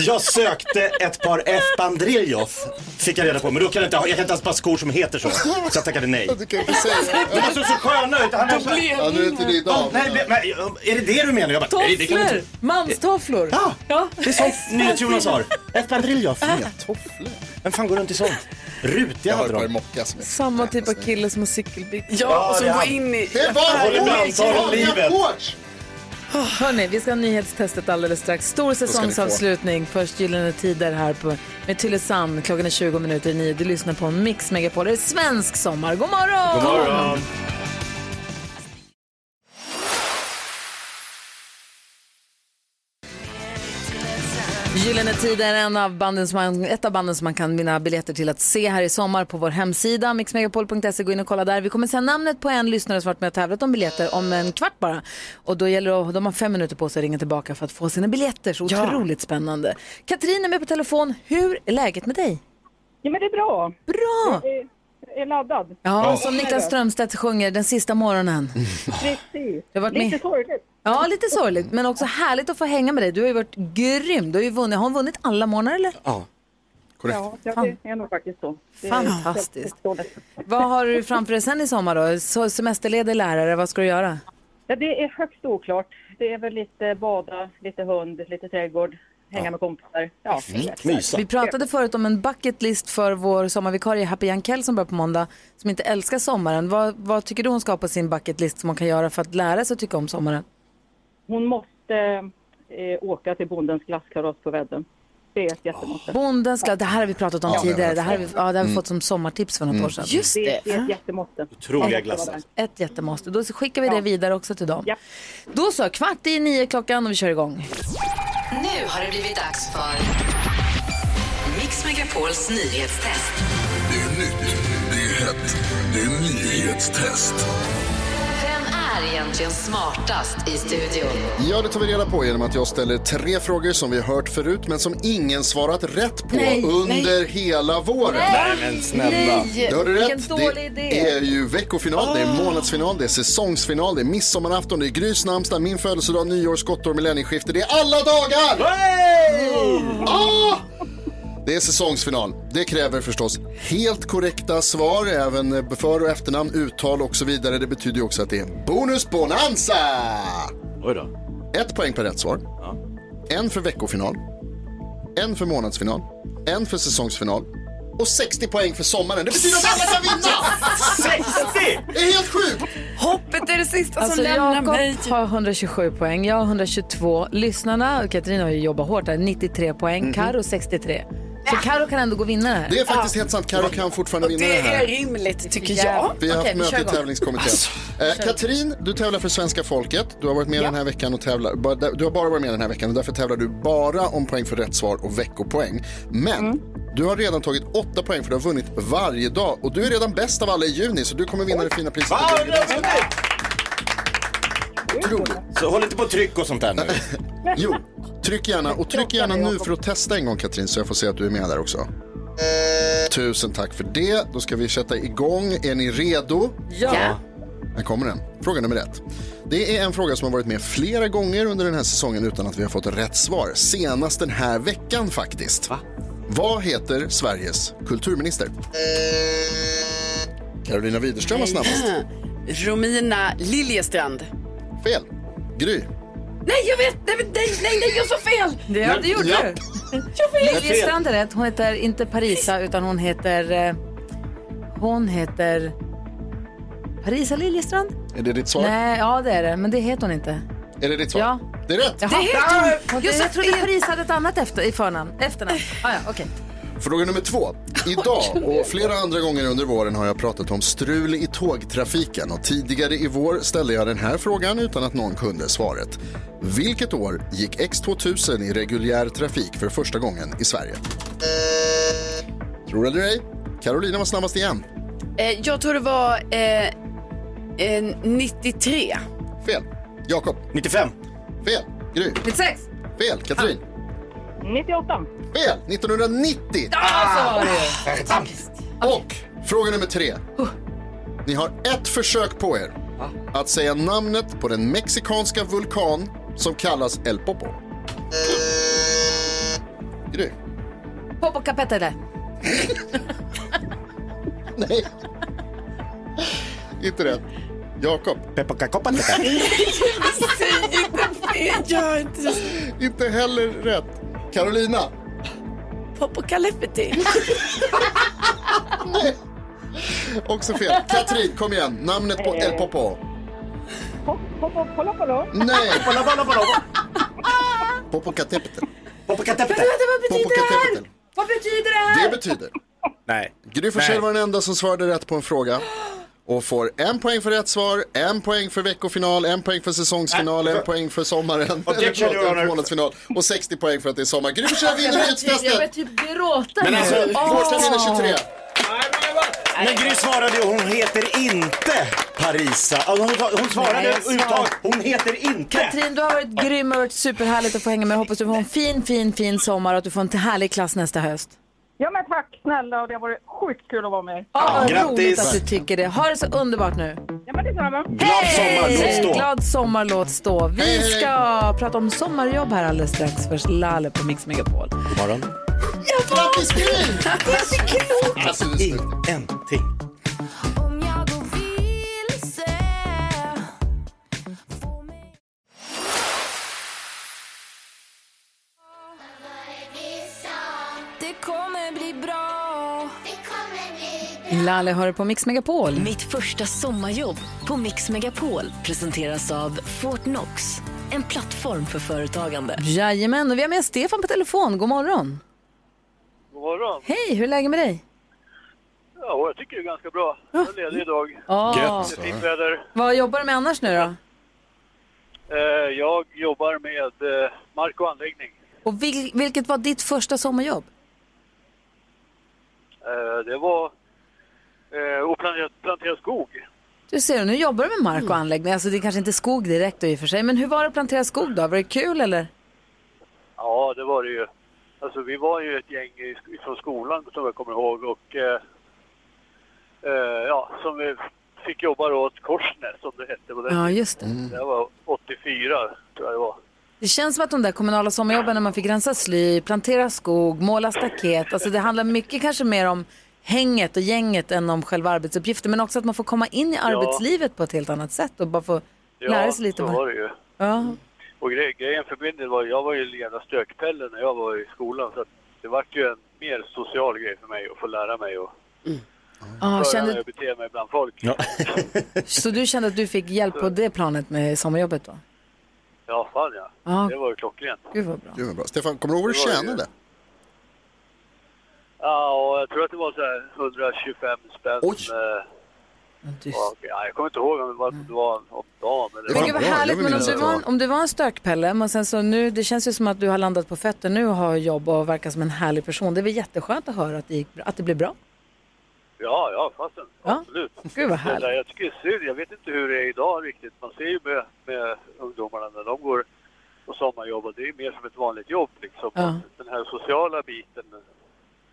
Jag sökte ett par Espandrillos, fick jag reda på, men då kan jag inte, ha- jag kan inte ens ha skor som heter så. Så jag tackade nej. Du kan inte Alltså, säga det. De såg så sköna ut. Han är så... Ja, nu är inte det idag. Nej, det- men, är det det du menar? Jag bara, nej, det kan inte- Tofflor! Manstofflor! Ja, det är sånt Exakt. NyhetsJonas har. Espandrillos. Inga tofflor. Vem fan går runt i sånt? Rutiga hade de. Samma typ av kille som har cykelbyxor. Ja, och som går in i... Det var Håller brandtal om livet. Oh, hörni, vi ska ha nyhetstestet alldeles strax. Stor ska ni få. säsongsavslutning. Först Gyllene Tider här på, med Tylösand. Klockan är 20 minuter i nio. Du lyssnar på Mix Megapol. Det är svensk sommar. God morgon! God morgon! Gyllene Tider är en av banden som man, ett av banden som man kan vinna biljetter till att se här i sommar på vår hemsida mixmegapol.se. Gå in och kolla där. Vi kommer säga namnet på en lyssnare som varit med och tävlat om biljetter om en kvart bara. Och då gäller det, att- de har fem minuter på sig att ringa tillbaka för att få sina biljetter. Så Ja. otroligt spännande. Katrin är med på telefon. Hur är läget med dig? Ja, men det är bra. Bra! Jag är, jag är laddad. Ja, som Niklas Strömstedt sjunger, den sista morgonen. Precis. Jag har varit Lite med- sorgligt. Ja, lite sorgligt, men också härligt att få hänga med dig. Du har ju varit grym. Du har ju vunnit. Har hon vunnit alla morgnar eller? Ja, Ja, ja, det är nog faktiskt så. Det är Fantastiskt. helt förståeligt. Vad har du framför dig sen i sommar då? Så- Semesterledig lärare, vad ska du göra? Ja, det är högst oklart. Det är väl lite bada, lite hund, lite trädgård, hänga med kompisar. Ja, Vi pratade förut om en bucket list för vår sommarvikarie Happy Jankell som börjar på måndag, som inte älskar sommaren. Vad, vad tycker du hon ska ha på sin bucket list som hon kan göra för att lära sig att tycka om sommaren? Hon måste eh, åka till bondens glasskalas på Väddö. Det är ett jättemåste. Bondens glad, det här har vi pratat om Ja, det har vi tidigare. varit Det här har vi, ja, för. det har vi Mm. fått som sommartips för något Mm. år sedan. Just Det- det. det är ett jättemåste. Otroliga glassar. Ett, ett jättemåste. Då skickar vi det vidare också till dem. Då så, kvart i nio klockan och vi kör igång. Nu har det blivit dags för Mix Megapols nyhetstest. Det är nytt, det är hett, det är nyhetstest. Vem är egentligen smartast i studion? Ja, det tar vi reda på genom att jag ställer tre frågor som vi har hört förut men som ingen svarat rätt på Nej, under nej. hela våren. Nej, Nej, men snälla. nej. Det har du Vilken rätt. dålig idé. Ah. Det är ju veckofinal, det är månadsfinal, det är säsongsfinal, det är midsommarafton, det är Grys namnsdag, min födelsedag, nyår, skottår, millennieskifte. Det är alla dagar! Ah! Det är säsongsfinal. Det kräver förstås helt korrekta svar, även för och efternamn, uttal och så vidare. Det betyder ju också att det är bonusbonanza! Oj då. Ett poäng per rätt svar. En för veckofinal. En för månadsfinal. En för säsongsfinal. Och 60 poäng för sommaren. Det betyder att alla kan vinna! 60! Det är helt sjukt! Hoppet är det sista Alltså som lämnar Jakob mig. typ. har 127 poäng, jag har 122. Lyssnarna, och Katrin har ju jobbat hårt där, 93 poäng. Mhm. Karo 63. Så Karo kan ändå gå och vinna det här. Det är faktiskt helt sant. Karo kan fortfarande vinna det här. rimligt tycker Vi har haft möte i tävlingskommittén. eh, kör. Katrin, du tävlar för svenska folket. Du har varit med den här veckan och tävlar. ba- Du har bara varit med den här veckan och därför tävlar du bara om poäng för rätt svar och veckopoäng. Men du har redan tagit åtta poäng för du har vunnit varje dag och du är redan bäst av alla i juni så du kommer vinna det fina priset. Wow, det är Så håll inte på och tryck och sånt där nu. Jo, tryck gärna och tryck gärna nu för att testa en gång Katrin så jag får se att du är med där också. Tusen tack för det. Då ska vi sätta igång. Är ni redo? Ja. Ja. Här kommer den. Fråga nummer ett. Det är en fråga som har varit med flera gånger under den här säsongen utan att vi har fått rätt svar. Senast den här veckan faktiskt. Vad heter Sveriges kulturminister? Carolina Widerström var snabbast. Romina Liljestrand. Fel. Gry. Nej, jag vet! Nej, men nej, nej, nej jag sa fel! Det, ja, det gjorde Ja. du. vet. Liljestrand är rätt. Hon heter inte Parisa utan hon heter... eh, Hon heter... Parisa Liljestrand? Är det ditt svar? Nej, ja det är det. Men det heter hon inte. Är det ditt svar? Ja. Det är rätt. Jaha. Hon, jag, jag trodde Parisa hade ett annat efter, i förnamn. Efternamn. Ah, ja, okej. Fråga nummer två. Idag och flera andra gånger under våren har jag pratat om strul i tågtrafiken och tidigare i vår ställde jag den här frågan utan att någon kunde svaret. Vilket år gick X2000 i reguljär trafik för första gången i Sverige? Tror eller ej, Carolina var snabbast igen. Eh, jag tror det var eh, eh, 93. Fel. Jakob. 95. Fel. Gry. 96. Fel. Katrin. 98. Fel. 1990. Ah! Och fråga nummer tre. Oh. Ni har ett försök på er att säga namnet på den mexikanska vulkan som kallas El Popo. Gry. Popocapetele. Nej. Inte rätt. Jakob. Pepocacopatete. Säg inte fel, gör inte så. Inte heller rätt. Carolina. Popocalipeti. Också fel. Katrin, kom igen. Namnet på El Popo. Hoppa, kolla, kolla. Nej. Kolla, kolla, kolla. Popocatépetl. Popocatépetl. Vad betyder det här? Vad betyder det här? Det betyder. Nej. Gry Forssell var den enda som svarade rätt på en fråga. Och får en poäng för rätt svar, en poäng för veckofinal, en poäng för säsongsfinal, Äh, en poäng för sommaren, eller Objection, Your förlåt, Honor. en månadsfinal och 60 poäng för att det är sommar. Gry Forssell Jag vinner börjar- jag börjar nyhetstestet! typ gråta Men nu. alltså, Gårdsten Åh. vinner 23. Men Gry svarade ju, hon heter inte Parisa. Alltså, hon, hon svarade Nej, jag svar- överhuvudtaget, hon heter inte. Katrin, du har varit grym och varit superhärligt att få hänga med. Jag hoppas du får en fin, fin, fin sommar och att du får en till härlig klass nästa höst. Ja men tack snälla och det har varit sjukt kul att vara med er. Ja, vad grattis. roligt att du tycker det. Ha det så underbart nu. Ja men detsamma. Glad sommar, låt stå. Glad sommar, låt stå. Vi ska prata om sommarjobb här alldeles strax. Först Laleh på Mix Megapol. God morgon. Grattis Gry! Det är så klokt! Alltså, Ingenting. Om jag går vilse Det kommer bli bra Laleh har det på Mix Megapol. Mitt första sommarjobb på Mix Megapol presenteras av Fortnox. En plattform för företagande. Jajamän, och vi har med Stefan på telefon. God morgon. God morgon. Hej, hur är läget med dig? Ja, jag tycker det är ganska bra. Jag är ledig idag. Ja. Gött. Det är fint väder. Vad jobbar du med annars nu då? Eh, Jag jobbar med eh, mark och anläggning. Och vil- vilket var ditt första sommarjobb? Eh, Det var eh, att plantera, plantera skog. Du ser, nu jobbar du med mark Mm. och anläggning. Alltså det är kanske inte skog direkt då i och för sig. Men hur var det att plantera skog då? Var det kul eller? Ja, det var det ju. Alltså, vi var ju ett gäng i- från skolan som jag kommer ihåg och eh, eh, ja, som vi fick jobba då åt Korsnäs som det hette på den Ja, tiden. just det. Mm. Det var 84 tror jag det var. Det känns som att de där kommunala sommarjobben när man fick rensa sly, plantera skog, måla staket. Alltså det handlar mycket kanske mer om hänget och gänget än om själva arbetsuppgiften. Men också att man får komma in i Ja. arbetslivet på ett helt annat sätt och bara få lära sig lite. så vad- var det ju. Ja, Och gre- grejen för min del var jag var ju leda stökpelle när jag var i skolan så att det var ju en mer social grej för mig att få lära mig och ah, höra kände, hur jag beter mig bland folk. Ja. så du kände att du fick hjälp på det planet med sommarjobbet då? fan ja. Ja. Det var ju klockrent. Gud vad bra. Gud vad bra. Stefan, kommer du ihåg vad du Det var det. tjänade? Ja, och jag tror att det var så här 125 spänn. Oj! ja, jag kommer inte ihåg om det var, om det var om dagen eller... Men gud vad härligt, men om du, var en, om du var en stökpelle, men sen så nu, det känns ju som att du har landat på fötter nu och har jobb och verkar som en härlig person. Det är väl jätteskönt att höra att det, gick, bra- att det blev bra? Ja, ja, fasen. Ja. Absolut. Gud vad Det där, härligt. jag tycker det är synd. Jag vet inte hur det är idag riktigt. Man ser ju med, med ungdomarna när de går och sommarjobbar. Det är mer som ett vanligt jobb liksom. Ja. Den här sociala biten. liksom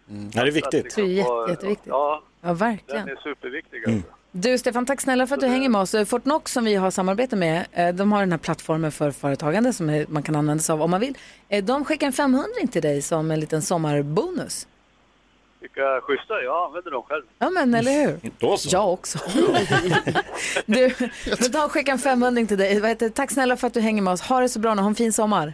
Ja, det är Det är viktigt. ju jätte, jätteviktigt. Ja, Ja, den verkligen. är superviktig Mm. alltså. Du Stefan, tack snälla för att du hänger med oss. Eh, Fortnox som vi har samarbete med, eh, de har den här plattformen för företagande som är- man kan använda sig av om man vill. Eh, De skickar en 500 till dig som en liten sommarbonus. Vilka schyssta. Jag använder dem själv. Ja men eller hur? Då så. Jag också. du, men de skickar en 500 till dig. Vad heter det? Tack snälla för att du hänger med oss. Ha det så bra nu, ha en fin sommar.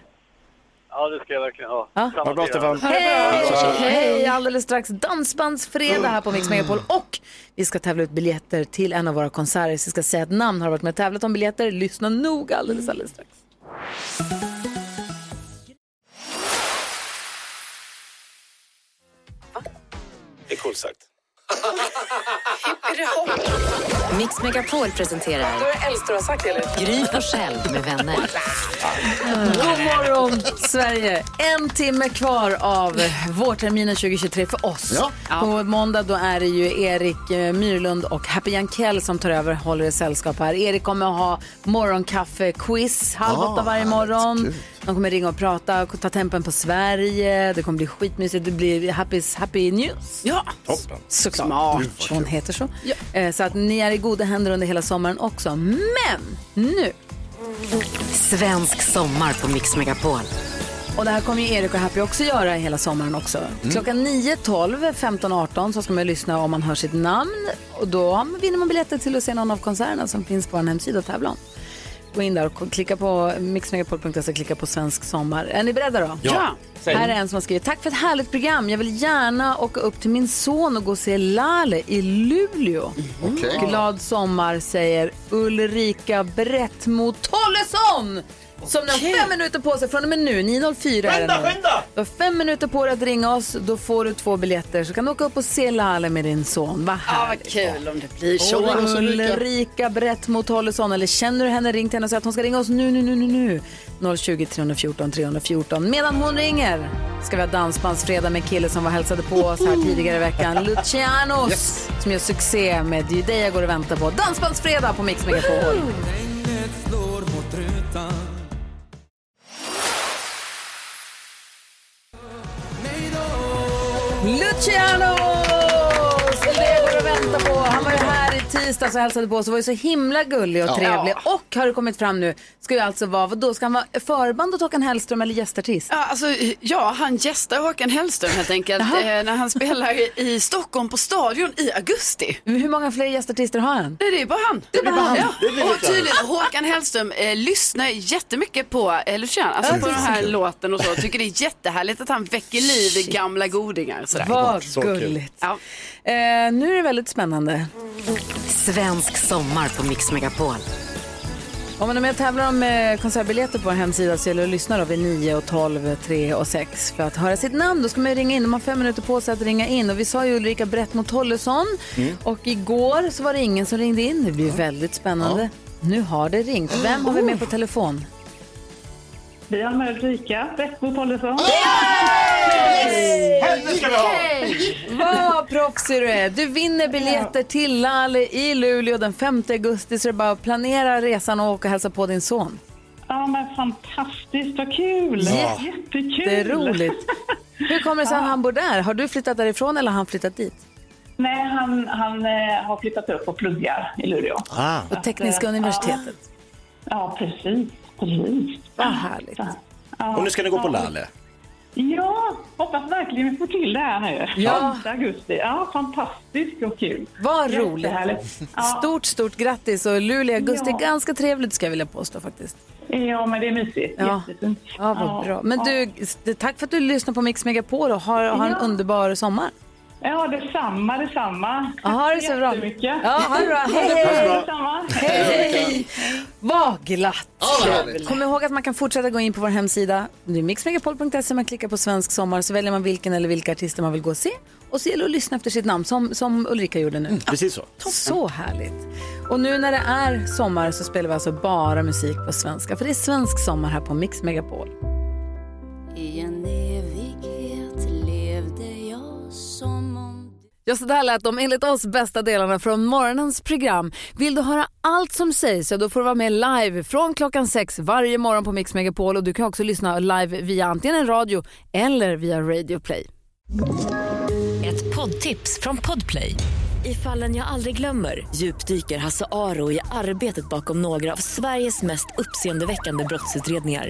Ja, det ska jag verkligen ha. Ja. Samma Ha det bra, till er. Stefan. Hej! Hej! Hej! Alldeles strax dansbandsfredag här på Mix Megapol och vi ska tävla ut biljetter till en av våra konserter. Så vi ska säga att namn har varit med och tävlat om biljetter. Lyssna noga alldeles, alldeles strax. Det är coolt sagt. Mix Megapol presenterar... Det var det äldsta du har sagt, eller? Gry Forssell med vänner. God morgon, Sverige! En timme kvar av vårterminen 2023 för oss. På måndag då är det ju Erik eh, Myrlund och Happy Jankell som tar över håller i sällskap här. Erik kommer att ha morgonkaffe-quiz halv Ah, åtta varje härligt, morgon. De kommer ringa och prata, ta tempen på Sverige. Det kommer bli skitmysigt. Det blir Happy's Happy News. Ja, Toppen. såklart. Smart. Hon heter så. Eh, Så att ni är i goda händer under hela sommaren också. Men nu Svensk sommar på Mix Megapol. och det här kommer ju Erik och Happy också göra hela sommaren också. Klockan 9, 12, 15, 18 så ska man lyssna om man hör sitt namn. Och då vinner man biljetter till att se någon av konserterna som finns på vår hemsida och tävla om. Gå in där och klicka på mixmegapol.se, klicka på svensk sommar. Är ni beredda då? Ja. Ja. Säg. Här är en som har skrivit, tack för ett härligt program. Jag vill gärna åka upp till min son och gå och se Lale i Luleå. Mhm. Okej. Glad sommar säger Ulrika Brettmo Tollesson! Som har fem minuter på sig från och med nu, 9.04 är det Skynda, nu. skynda! Du har fem minuter på dig att ringa oss, då får du två biljetter så kan du åka upp och se Lale med din son. Vad Ja, härligt. vad kul om det blir så. Ulrika Brett mot Hollesson eller känner du henne ring till henne och säg att hon ska ringa oss nu, nu, nu, nu, nu. 020 314 314. Medan hon ringer ska vi ha Dansbandsfredag med kille som var och hälsade på oss här tidigare i veckan. Lucianos som gör succé med Det är ju dig jag går och väntar på. Dansbandsfredag på Mix Megapol. Lucianos! Det är det jag går och väntar på. Han var ju här i tisdags och hälsade på oss och var ju så himla gullig och Ja. trevlig. Och har det kommit fram nu, ska ju alltså vara, då ska han vara förband åt Håkan Hellström eller gästartist? Ja, alltså, ja, han gästar Håkan Hellström helt enkelt eh, när han spelar i- i Stockholm på Stadion i augusti. Hur många fler gästartister har han? Nej, det är bara han. Det är bara han. Ja. Det blir Och lite tydligen, Håkan Hellström eh, lyssnar jättemycket på eh, Lucian, alltså Ja, på det är den så här kul. låten och så. Tycker det är jättehärligt att han väcker liv i gamla godingar. Sådär. Vad Så kul. gulligt. Ja. Eh, nu är det väldigt spännande. Svensk sommar på Mix Megapol. Om man är med och tävlar om eh, konsertbiljetter på vår hemsida så gäller det att lyssna då vid 9, och 12, 3 och 6 för att höra sitt namn. Då ska man ju ringa in. De har fem minuter på sig att ringa in. Och vi sa ju Ulrika Brett mot Tollesson Mm. och igår så var det ingen som ringde in. Det blir väldigt spännande. Nu har det ringt. Vem har vi med på telefon? Vi har med Ulrika Bäckbo Tollesson. Henne ska vi ha! Vad proffsig du är. Du vinner biljetter till Lale i Luleå den 5 augusti så det är bara att planera resan och åka och hälsa på din son. Ja, men fantastiskt, vad kul! Ja. Jättekul! Det är roligt. Hur kommer det sig att han bor där? Har du flyttat därifrån eller har han flyttat dit? Nej, han, han eh, har flyttat upp och pluggar i Luleå. Ah. På Tekniska Att, eh, universitetet. Ja, precis. precis. Vad härligt. Ja, Och nu ska ni gå på ja. Lalle. Ja, hoppas verkligen vi får till det här nu. Ja. 5 augusti. Ja, fantastiskt och kul. Vad roligt. Jättehärligt. Stort, stort grattis och Luleå i augusti är Ja. ganska trevligt ska jag vilja påstå faktiskt. Ja, men det är mysigt. Ja, Jättefint. ja vad Ja. bra. Men du, s- tack för att du lyssnar på Mix Megapol och har, har en Ja. underbar sommar. Ja, detsamma, detsamma. Ja, ha det så bra. jättemycket. Ja, ha det bra. Hej, Ha det hej. bra. Detsamma. Hej! Vad glatt! vad härligt. Kom ihåg att man kan fortsätta gå in på vår hemsida. Det är mixmegapol.se, man klickar på svensk sommar så väljer man vilken eller vilka artister man vill gå och se. Och så gäller det att lyssna efter sitt namn som, som Ulrika gjorde nu. Precis så. Så härligt! Och nu när det är sommar så spelar vi alltså bara musik på svenska för det är svensk sommar här på Mix Megapol. I en evighet levde jag som om... Ja, så där lät de enligt oss bästa delarna från morgonens program. Vill du höra allt som sägs, ja, då får du vara med live från klockan sex varje morgon på Mix Megapol. Och du kan också lyssna live via antingen en radio eller via Radio Play. Ett poddtips från Podplay. I fallen jag aldrig glömmer djupdyker Hasse Aro i arbetet bakom några av Sveriges mest uppseendeväckande brottsutredningar.